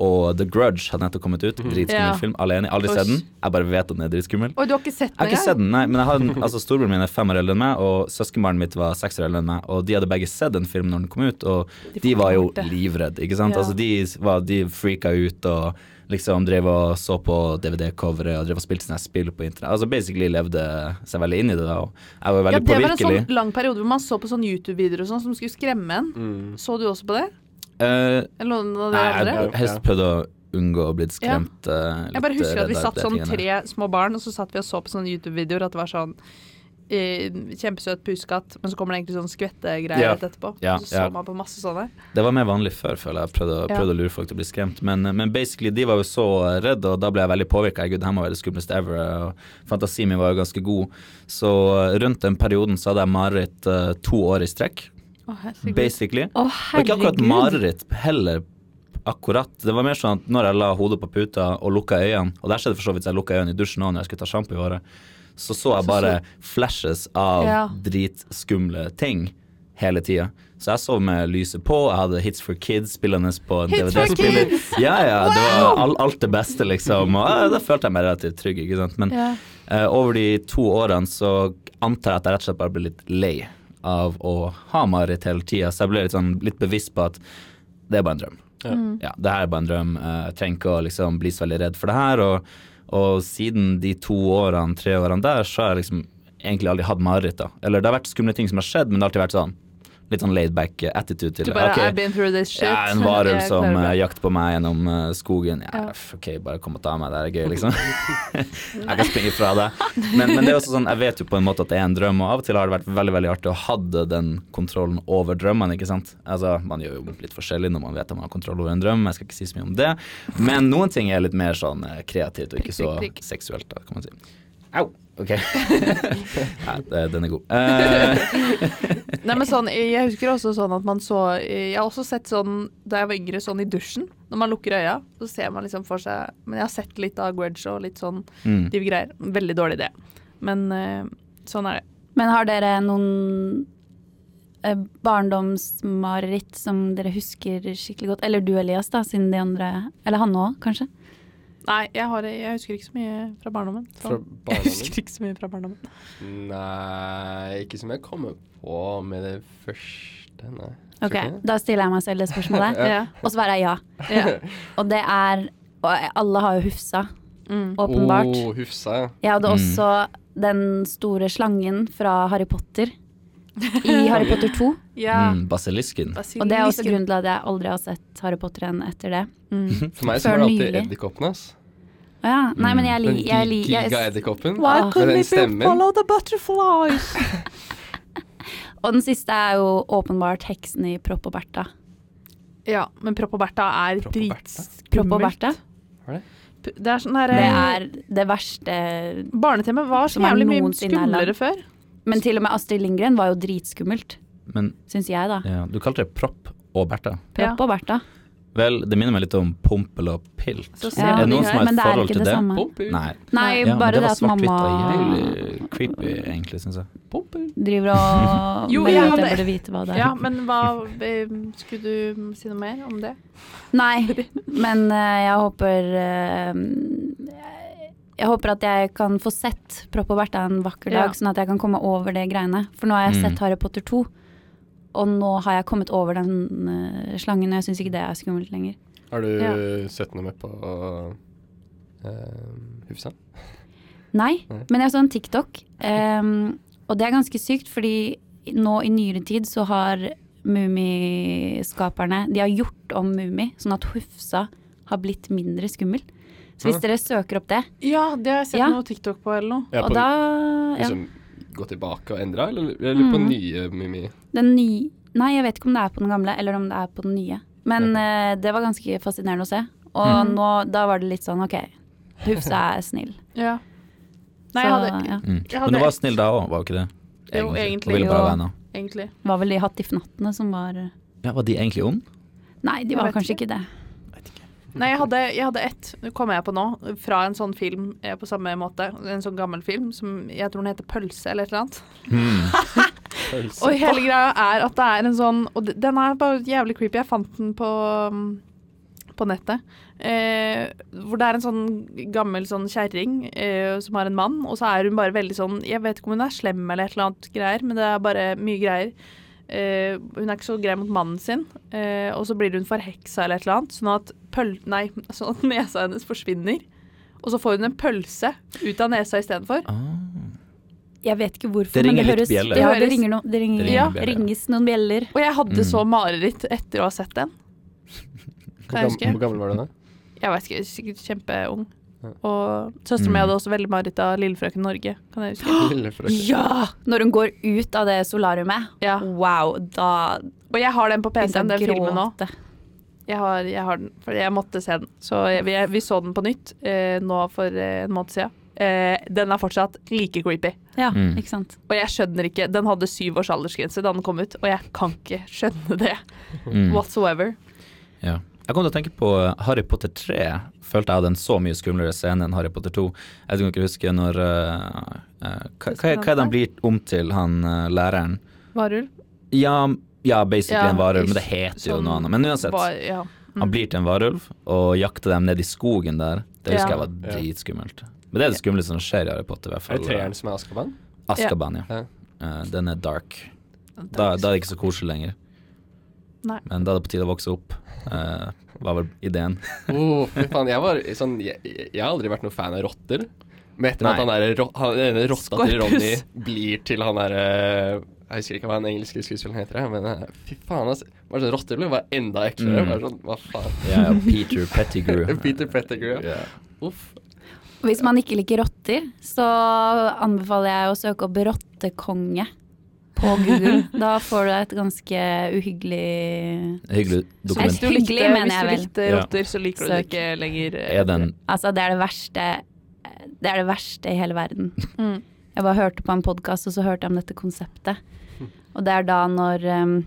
S2: Og The Grudge hadde nettopp kommet ut. Dritskummel
S1: Ja.
S2: film. Alene. Aldri
S1: Oi.
S2: sett den. Jeg bare vet at den er dritskummel.
S1: Oi, du har ikke sett
S2: Jeg har
S1: den
S2: ikke sett den, nei, men jeg har den, altså, storebroren min er fem år eldre enn meg, og søskenbarnet mitt var seks år eldre enn meg, og de hadde begge sett den filmen når den kom ut, og de var jo
S1: fortalte.
S2: livredde, ikke sant?
S1: Ja.
S2: Altså, de, var, de freaka ut og liksom drev og så på DVD-coveret og drev og spilte sånne spill på internett. Altså basically levde seg veldig inn i det da, og jeg var
S1: Ja,
S2: veldig
S1: det var en
S2: påvirkelig.
S1: sånn lang periode hvor man så på sånne YouTube-videoer og sånn som skulle skremme en.
S4: Mm.
S1: Så du også på det?
S2: Eh,
S1: Eller noen av de
S2: nei,
S1: andre?
S2: jeg helst prøvde å unngå å bli skremt. eh, litt
S1: Jeg bare husker at
S2: redd
S1: vi
S2: av
S1: satt
S2: de
S1: sånn
S2: tingene.
S1: tre små barn, og så satt vi og så på sånne YouTube-videoer at det var sånn eh, kjempesøt pusekatt, men så kommer det egentlig sånn skvettegreier
S2: Ja.
S1: rett etterpå.
S2: Ja,
S1: så
S2: ja.
S1: så man på masse sånne.
S2: Det var mer vanlig før, føler jeg. Jeg Prøvde, å-
S1: Ja.
S2: prøvde å lure folk til å bli skremt. Men, eh, men basically, de var jo så redde, og da ble jeg veldig påvirka. Gud, det her må være det skumleste ever. Og fantasien min var jo ganske god. Så eh, rundt den perioden så hadde jeg mareritt eh, to år i strekk,
S1: Å, herregud.
S2: basically.
S3: Å,
S2: Og ikke akkurat
S3: herregud.
S2: mareritt heller, akkurat. Det var mer sånn at når jeg la hodet på puta og lukka øynene, og der skjedde for så vidt jeg lukka øynene i dusjen òg når jeg skulle ta sjampo i håret, så så jeg bare flashes av
S1: Ja.
S2: dritskumle ting. hele tida. Så jeg sov med lyset på, jeg hadde Hits for Kids spillende på en
S1: Hits for
S2: DVD-spiller.
S1: Kids!
S2: Ja, ja, det var all, alt det beste, liksom. Og eh, da følte jeg meg relativt trygg, ikke sant. Men
S1: Ja.
S2: eh, over de to årene så antar jeg at jeg rett og slett bare ble litt lei av å ha mareritt hele tida, så jeg ble litt, sånn, litt bevisst på at det er bare en drøm
S4: Ja.
S1: Mm.
S2: ja, det her er bare en drøm. eh, Jeg trenger ikke å liksom bli så veldig redd for det her. Og, og siden de to årene, tre årene der, så har jeg liksom egentlig aldri hatt mareritt. da. Eller det har vært skumle ting som har skjedd, men det har alltid vært sånn litt sånn laid back attitude til
S1: Du
S2: det.
S1: bare
S2: Ok,
S1: I've been through this shit.
S2: ja, en varulv
S1: Jeg
S2: som
S1: klarer
S2: eh,
S1: det.
S2: jakter på meg gjennom eh, skogen. Ja,
S1: Ja.
S2: f- OK, bare kom og ta meg, det er gøy, liksom. jeg kan springe fra deg. Men, men det er også sånn, jeg vet jo på en måte at det er en drøm, og av og til har det vært veldig veldig artig å ha den kontrollen over drømmene, ikke sant. Altså, man gjør jo litt forskjellig når man vet at man har kontroll over en drøm, jeg skal ikke si så mye om det. Men noen ting er litt mer sånn eh, kreativt og ikke så
S1: Prikk, prikk, prikk.
S2: seksuelt, da, kan man si. Au. OK. Nei, det- den er god. Eh,
S1: Nei, men sånn, jeg husker også sånn at man så Jeg har også sett sånn da jeg var yngre, sånn i dusjen. Når man lukker øya, så ser man liksom for seg Men jeg har sett litt av Grudge og litt sånn
S2: mm.
S1: dype greier. Veldig dårlig idé. Men eh, sånn er det.
S3: Men har dere noen eh, barndomsmareritt som dere husker skikkelig godt? Eller du, Elias, da, siden de andre Eller han òg, kanskje?
S1: Nei, jeg, har, jeg husker ikke så mye fra barndommen. Så.
S4: Fra
S1: Jeg
S4: barndommen?
S1: husker ikke så mye fra barndommen.
S4: Nei, ikke som jeg kommer på med det første, nei. Tror
S3: Ok,
S4: ikke det.
S3: Da stiller jeg meg selv det spørsmålet,
S1: Ja.
S3: og svarer jeg ja.
S1: Ja.
S3: Og det er Og alle har jo Hufsa,
S1: Mm.
S3: åpenbart.
S4: Åh, Hufsa, ja.
S3: Jeg hadde
S2: Mm.
S3: også den store slangen fra Harry Potter i Harry Potter 2.
S1: ja.
S2: Mm, basilisken.
S3: Og det er også grunnen til at jeg aldri har sett Harry Potter igjen etter det.
S1: Mm.
S4: For meg så var
S3: Før
S4: det alltid
S3: nylig.
S4: edderkoppen, ass.
S3: Å ja. Nei, men jeg
S4: Den
S3: liker jeg,
S4: gi-
S3: li- jeg,
S4: giga-edderkoppen.
S3: Hva?
S1: Why
S3: Ah.
S4: Med
S1: couldn't
S4: den
S1: it be
S4: stemmen.
S1: follow the butterflies?
S3: Og den siste er jo åpenbart heksen i Propp og Bertha.
S1: ja, men Propp og Bertha er
S4: Propp og Bertha?
S3: Propp og
S1: dritskummelt.
S3: Bertha,
S1: Det er sånn her,
S3: det
S2: Mm.
S1: eh,
S3: er det verste
S1: Barne-TV var så
S3: Som er
S1: jævlig mye
S3: noensinne er
S1: skumlere
S3: lagd.
S1: før.
S3: Men til og med Astrid Lindgren var jo dritskummelt,
S2: Men
S3: syns jeg, da.
S2: ja, du kalte det propp og Bertha.
S3: Propp og Bertha.
S2: Vel, det minner meg litt om pompel og pilt.
S1: Så ser
S2: er
S1: vi
S2: det noen
S1: her,
S2: som har
S3: men
S2: et
S3: det er
S2: forhold
S3: ikke
S2: til
S3: det
S2: det?
S3: samme.
S4: Pompel.
S2: Nei.
S3: Nei,
S2: Ja, men
S3: bare det,
S2: var
S3: at mamma
S2: og jævlig creepy, egentlig, syns jeg.
S4: Pompel.
S3: driver og
S1: Jo, jeg
S3: mener at jeg
S1: hadde-
S3: burde vite hva det er.
S1: Ja, men hva eh, Skulle du si noe mer om det?
S3: Nei, men eh, jeg håper eh, Jeg håper at jeg kan få sett Propp og Bertha en vakker dag,
S1: Ja.
S3: sånn at jeg kan komme over det greiene. For nå har jeg
S2: Mm.
S3: sett Harry Potter 2, og nå har jeg kommet over den eh, slangen, og jeg syns ikke det er skummelt lenger.
S4: Har du
S1: Ja.
S4: sett noe med på eh, Hufsa?
S3: Nei,
S4: Nei.
S3: men jeg så en TikTok, em, og det er ganske sykt, fordi nå i nyere tid så har Mummiskaperne De har gjort om Mummi, sånn at Hufsa har blitt mindre skummel. Så hvis
S4: Hæ?
S3: dere søker opp det
S1: Ja, det har jeg sett
S3: Ja.
S1: noe TikTok på eller noe.
S4: Ja,
S3: og
S4: på
S3: da ja.
S4: liksom gå tilbake og endre, eller, eller på
S3: Mm.
S4: nye Mummi?
S3: Den nye Nei, jeg vet ikke om det er på den gamle, eller om det er på den nye. Men eh, det var ganske fascinerende å se. Og
S2: Mhm.
S3: nå, da var det litt sånn OK, Hufsa er snill.
S1: Ja. Nei,
S3: Så,
S1: jeg hadde
S3: ja.
S2: Mm.
S1: Ja,
S2: Men
S1: det-
S2: du var snill da òg, var jo ikke det?
S1: Jo, egentlig,
S2: Hun ville bare
S3: jo.
S2: være venner.
S1: egentlig
S3: Var vel de hattifnattene som var
S2: Ja, var de egentlig ond?
S3: Nei, de
S1: Jeg
S3: var
S1: vet
S3: kanskje
S1: ikke.
S3: ikke det.
S1: Nei, jeg hadde, jeg hadde ett, det kommer jeg på nå, fra en sånn film eh, på samme måte. En sånn gammel film som jeg tror den heter Pølse eller et eller annet. Og hele greia er at det er en sånn Og d- den er bare jævlig creepy. Jeg fant den på mm, på nettet. Eh, hvor det er en sånn gammel sånn kjerring eh, som har en mann, og så er hun bare veldig sånn Jeg vet ikke om hun er slem eller et eller annet greier, men det er bare mye greier. Eh, hun er ikke så grei mot mannen sin, eh, og så blir hun forheksa eller et eller annet, sånn at, pøl nei, sånn at nesa hennes forsvinner. Og så får hun en pølse ut av nesa istedenfor.
S2: Ah.
S3: Jeg vet ikke hvorfor,
S2: Det
S3: men
S2: ringer
S3: det
S2: litt
S3: høres
S2: bjeller.
S3: Det, ja, det
S1: Det høres-
S3: ringer noen, det ringer,
S2: Det ringer
S3: ja,
S2: noen bjeller, ja.
S3: ringes noen bjeller.
S1: Og jeg hadde
S2: Mm.
S1: så mareritt etter å ha sett den.
S4: Hvor,
S1: Kan jeg
S4: gam,
S1: huske?
S4: hvor gammel var du da?
S1: Jeg vet ikke, sikkert kjempeung.
S4: Ja.
S1: Og søsteren min
S2: Mm.
S1: hadde også veldig mareritt av Lillefrøken Norge. Kan jeg huske.
S4: Lille frøken.
S3: Ja! Når hun går ut av det solariumet.
S1: Ja.
S3: Wow, da
S1: Og jeg har den på PC-en, den filmen nå.
S3: gråte.
S1: Jeg har, jeg har den, for jeg måtte se den. Så jeg, vi, vi så den på nytt eh, nå for eh, en måned siden. Eh, den er fortsatt like creepy.
S3: Ja,
S2: Mm.
S3: ikke sant.
S1: Og jeg skjønner ikke Den hadde syv års aldersgrense da den kom ut, og jeg kan ikke skjønne det
S2: Mm.
S1: whatsoever.
S2: Ja. Jeg kom til å tenke på eh, Harry Potter 3. Følte jeg hadde en så mye skumlere scene enn Harry Potter 2. Jeg kan ikke huske når eh, eh, hva, hva, hva er det han blir om til, han eh, læreren?
S1: Varulv?
S2: Ja, ja basically
S1: Ja,
S2: en varulv,
S1: ish.
S2: men det heter jo
S1: Sånn
S2: noe annet. Men uansett,
S1: Bare, ja.
S2: han blir til en varulv og jakter dem ned i skogen der. Det husker
S1: Ja.
S2: jeg var dritskummelt. Men det er det skumleste som skjer i Harry Potter, i hvert
S4: Er det
S2: fall.
S4: treeren som er Askaban?
S2: Azkaban, ja.
S4: Ja.
S2: Eh, den er dark.
S1: Mm.
S2: Da, da er det ikke så koselig lenger.
S1: Nei.
S2: Men da er det på tide å vokse opp, eh, var vel ideen.
S4: Oh, fy faen, jeg, var, sånn, jeg, jeg har aldri vært noen fan av rotter. Men etter
S2: Nei.
S4: at han der, ro- han, denne rotta til
S1: Scorpius.
S4: Ronny blir til han derre Jeg husker ikke hva den engelske skuespilleren heter, jeg, men eh, fy faen, altså. Bare sånn rotter ble bare enda eklere.
S2: Mm.
S4: Bare sånn, hva faen.
S2: Ja, Peter Pettigrew.
S4: Peter Pettigrew, ja. Uff.
S3: Hvis man ikke liker rotter, så anbefaler jeg å søke opp rottekonge på Google. Da får du et ganske uhyggelig
S2: Eh, Hyggelig
S1: Hvis
S2: dokument.
S1: du likte,
S3: Hyggelig,
S1: hvis du
S3: mener jeg vel.
S1: likte
S2: Ja.
S1: rotter, så liker du det
S3: Søk.
S1: ikke lenger. eh,
S2: Er den
S3: Altså, det er det verste eh, Det er det verste i hele verden.
S1: Mm.
S3: Jeg bare hørte på en podkast, og så hørte jeg om dette konseptet. Og det er da når um,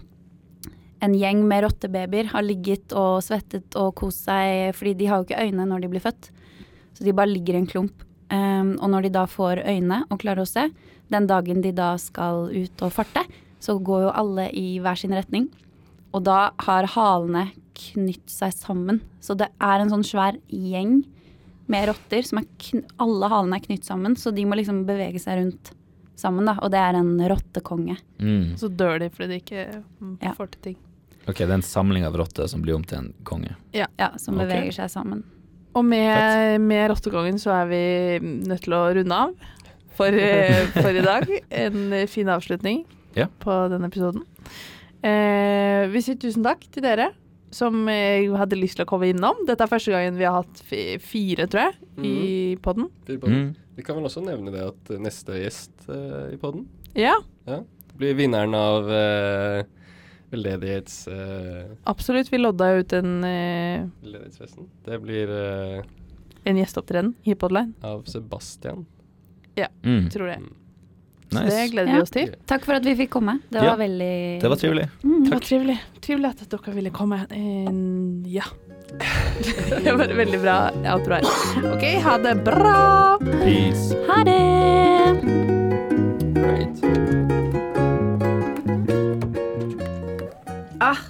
S3: en gjeng med rottebabyer har ligget og svettet og kost seg, fordi de har jo ikke øyne når de blir født, så de bare ligger i en klump. Um, og når de da får øyne og klarer å se, den dagen de da skal ut og farte, så går jo alle i hver sin retning. Og da har halene knytt seg sammen. Så det er en sånn svær gjeng med rotter. Som er kn alle halene er knytt sammen, så de må liksom bevege seg rundt sammen. da. Og det er en rottekonge.
S2: mm.
S1: Så dør de fordi de ikke mm,
S3: Ja.
S1: får til ting.
S2: Ok, det er en samling av rotter som blir om til en konge.
S3: Ja, Som
S2: Ok.
S3: beveger seg sammen.
S1: Og med, med rottekongen så er vi nødt til å runde av for, eh, for i dag. En eh, fin avslutning
S2: Ja.
S1: på denne episoden. Eh, vi sier tusen takk til dere som eh, hadde lyst til å komme innom. Dette er første gangen vi har hatt fi- fire, tror jeg,
S4: Mm.
S1: i podden.
S4: Vi, bare-
S2: Mm.
S4: vi kan vel også nevne det at eh, neste gjest eh, i poden
S1: Ja,
S4: blir vinneren av eh, veldedighets... eh,
S1: absolutt. Vi lodda ut en, eh,
S4: veldedighetsfesten. Det blir eh,
S1: en gjesteopptreden i Podline,
S4: av Sebastian.
S2: Mm.
S1: tror jeg. Så det
S2: Nice.
S1: gleder
S3: Ja.
S1: vi oss til.
S3: Takk for at vi fikk komme. Det var
S2: Ja,
S3: veldig
S2: Det var trivelig.
S3: Mm,
S1: Det var trivelig. Trivelig at dere ville komme. Eh, ja. Det var veldig bra outro her. OK, ha det bra!
S2: Peace.
S3: Ha det!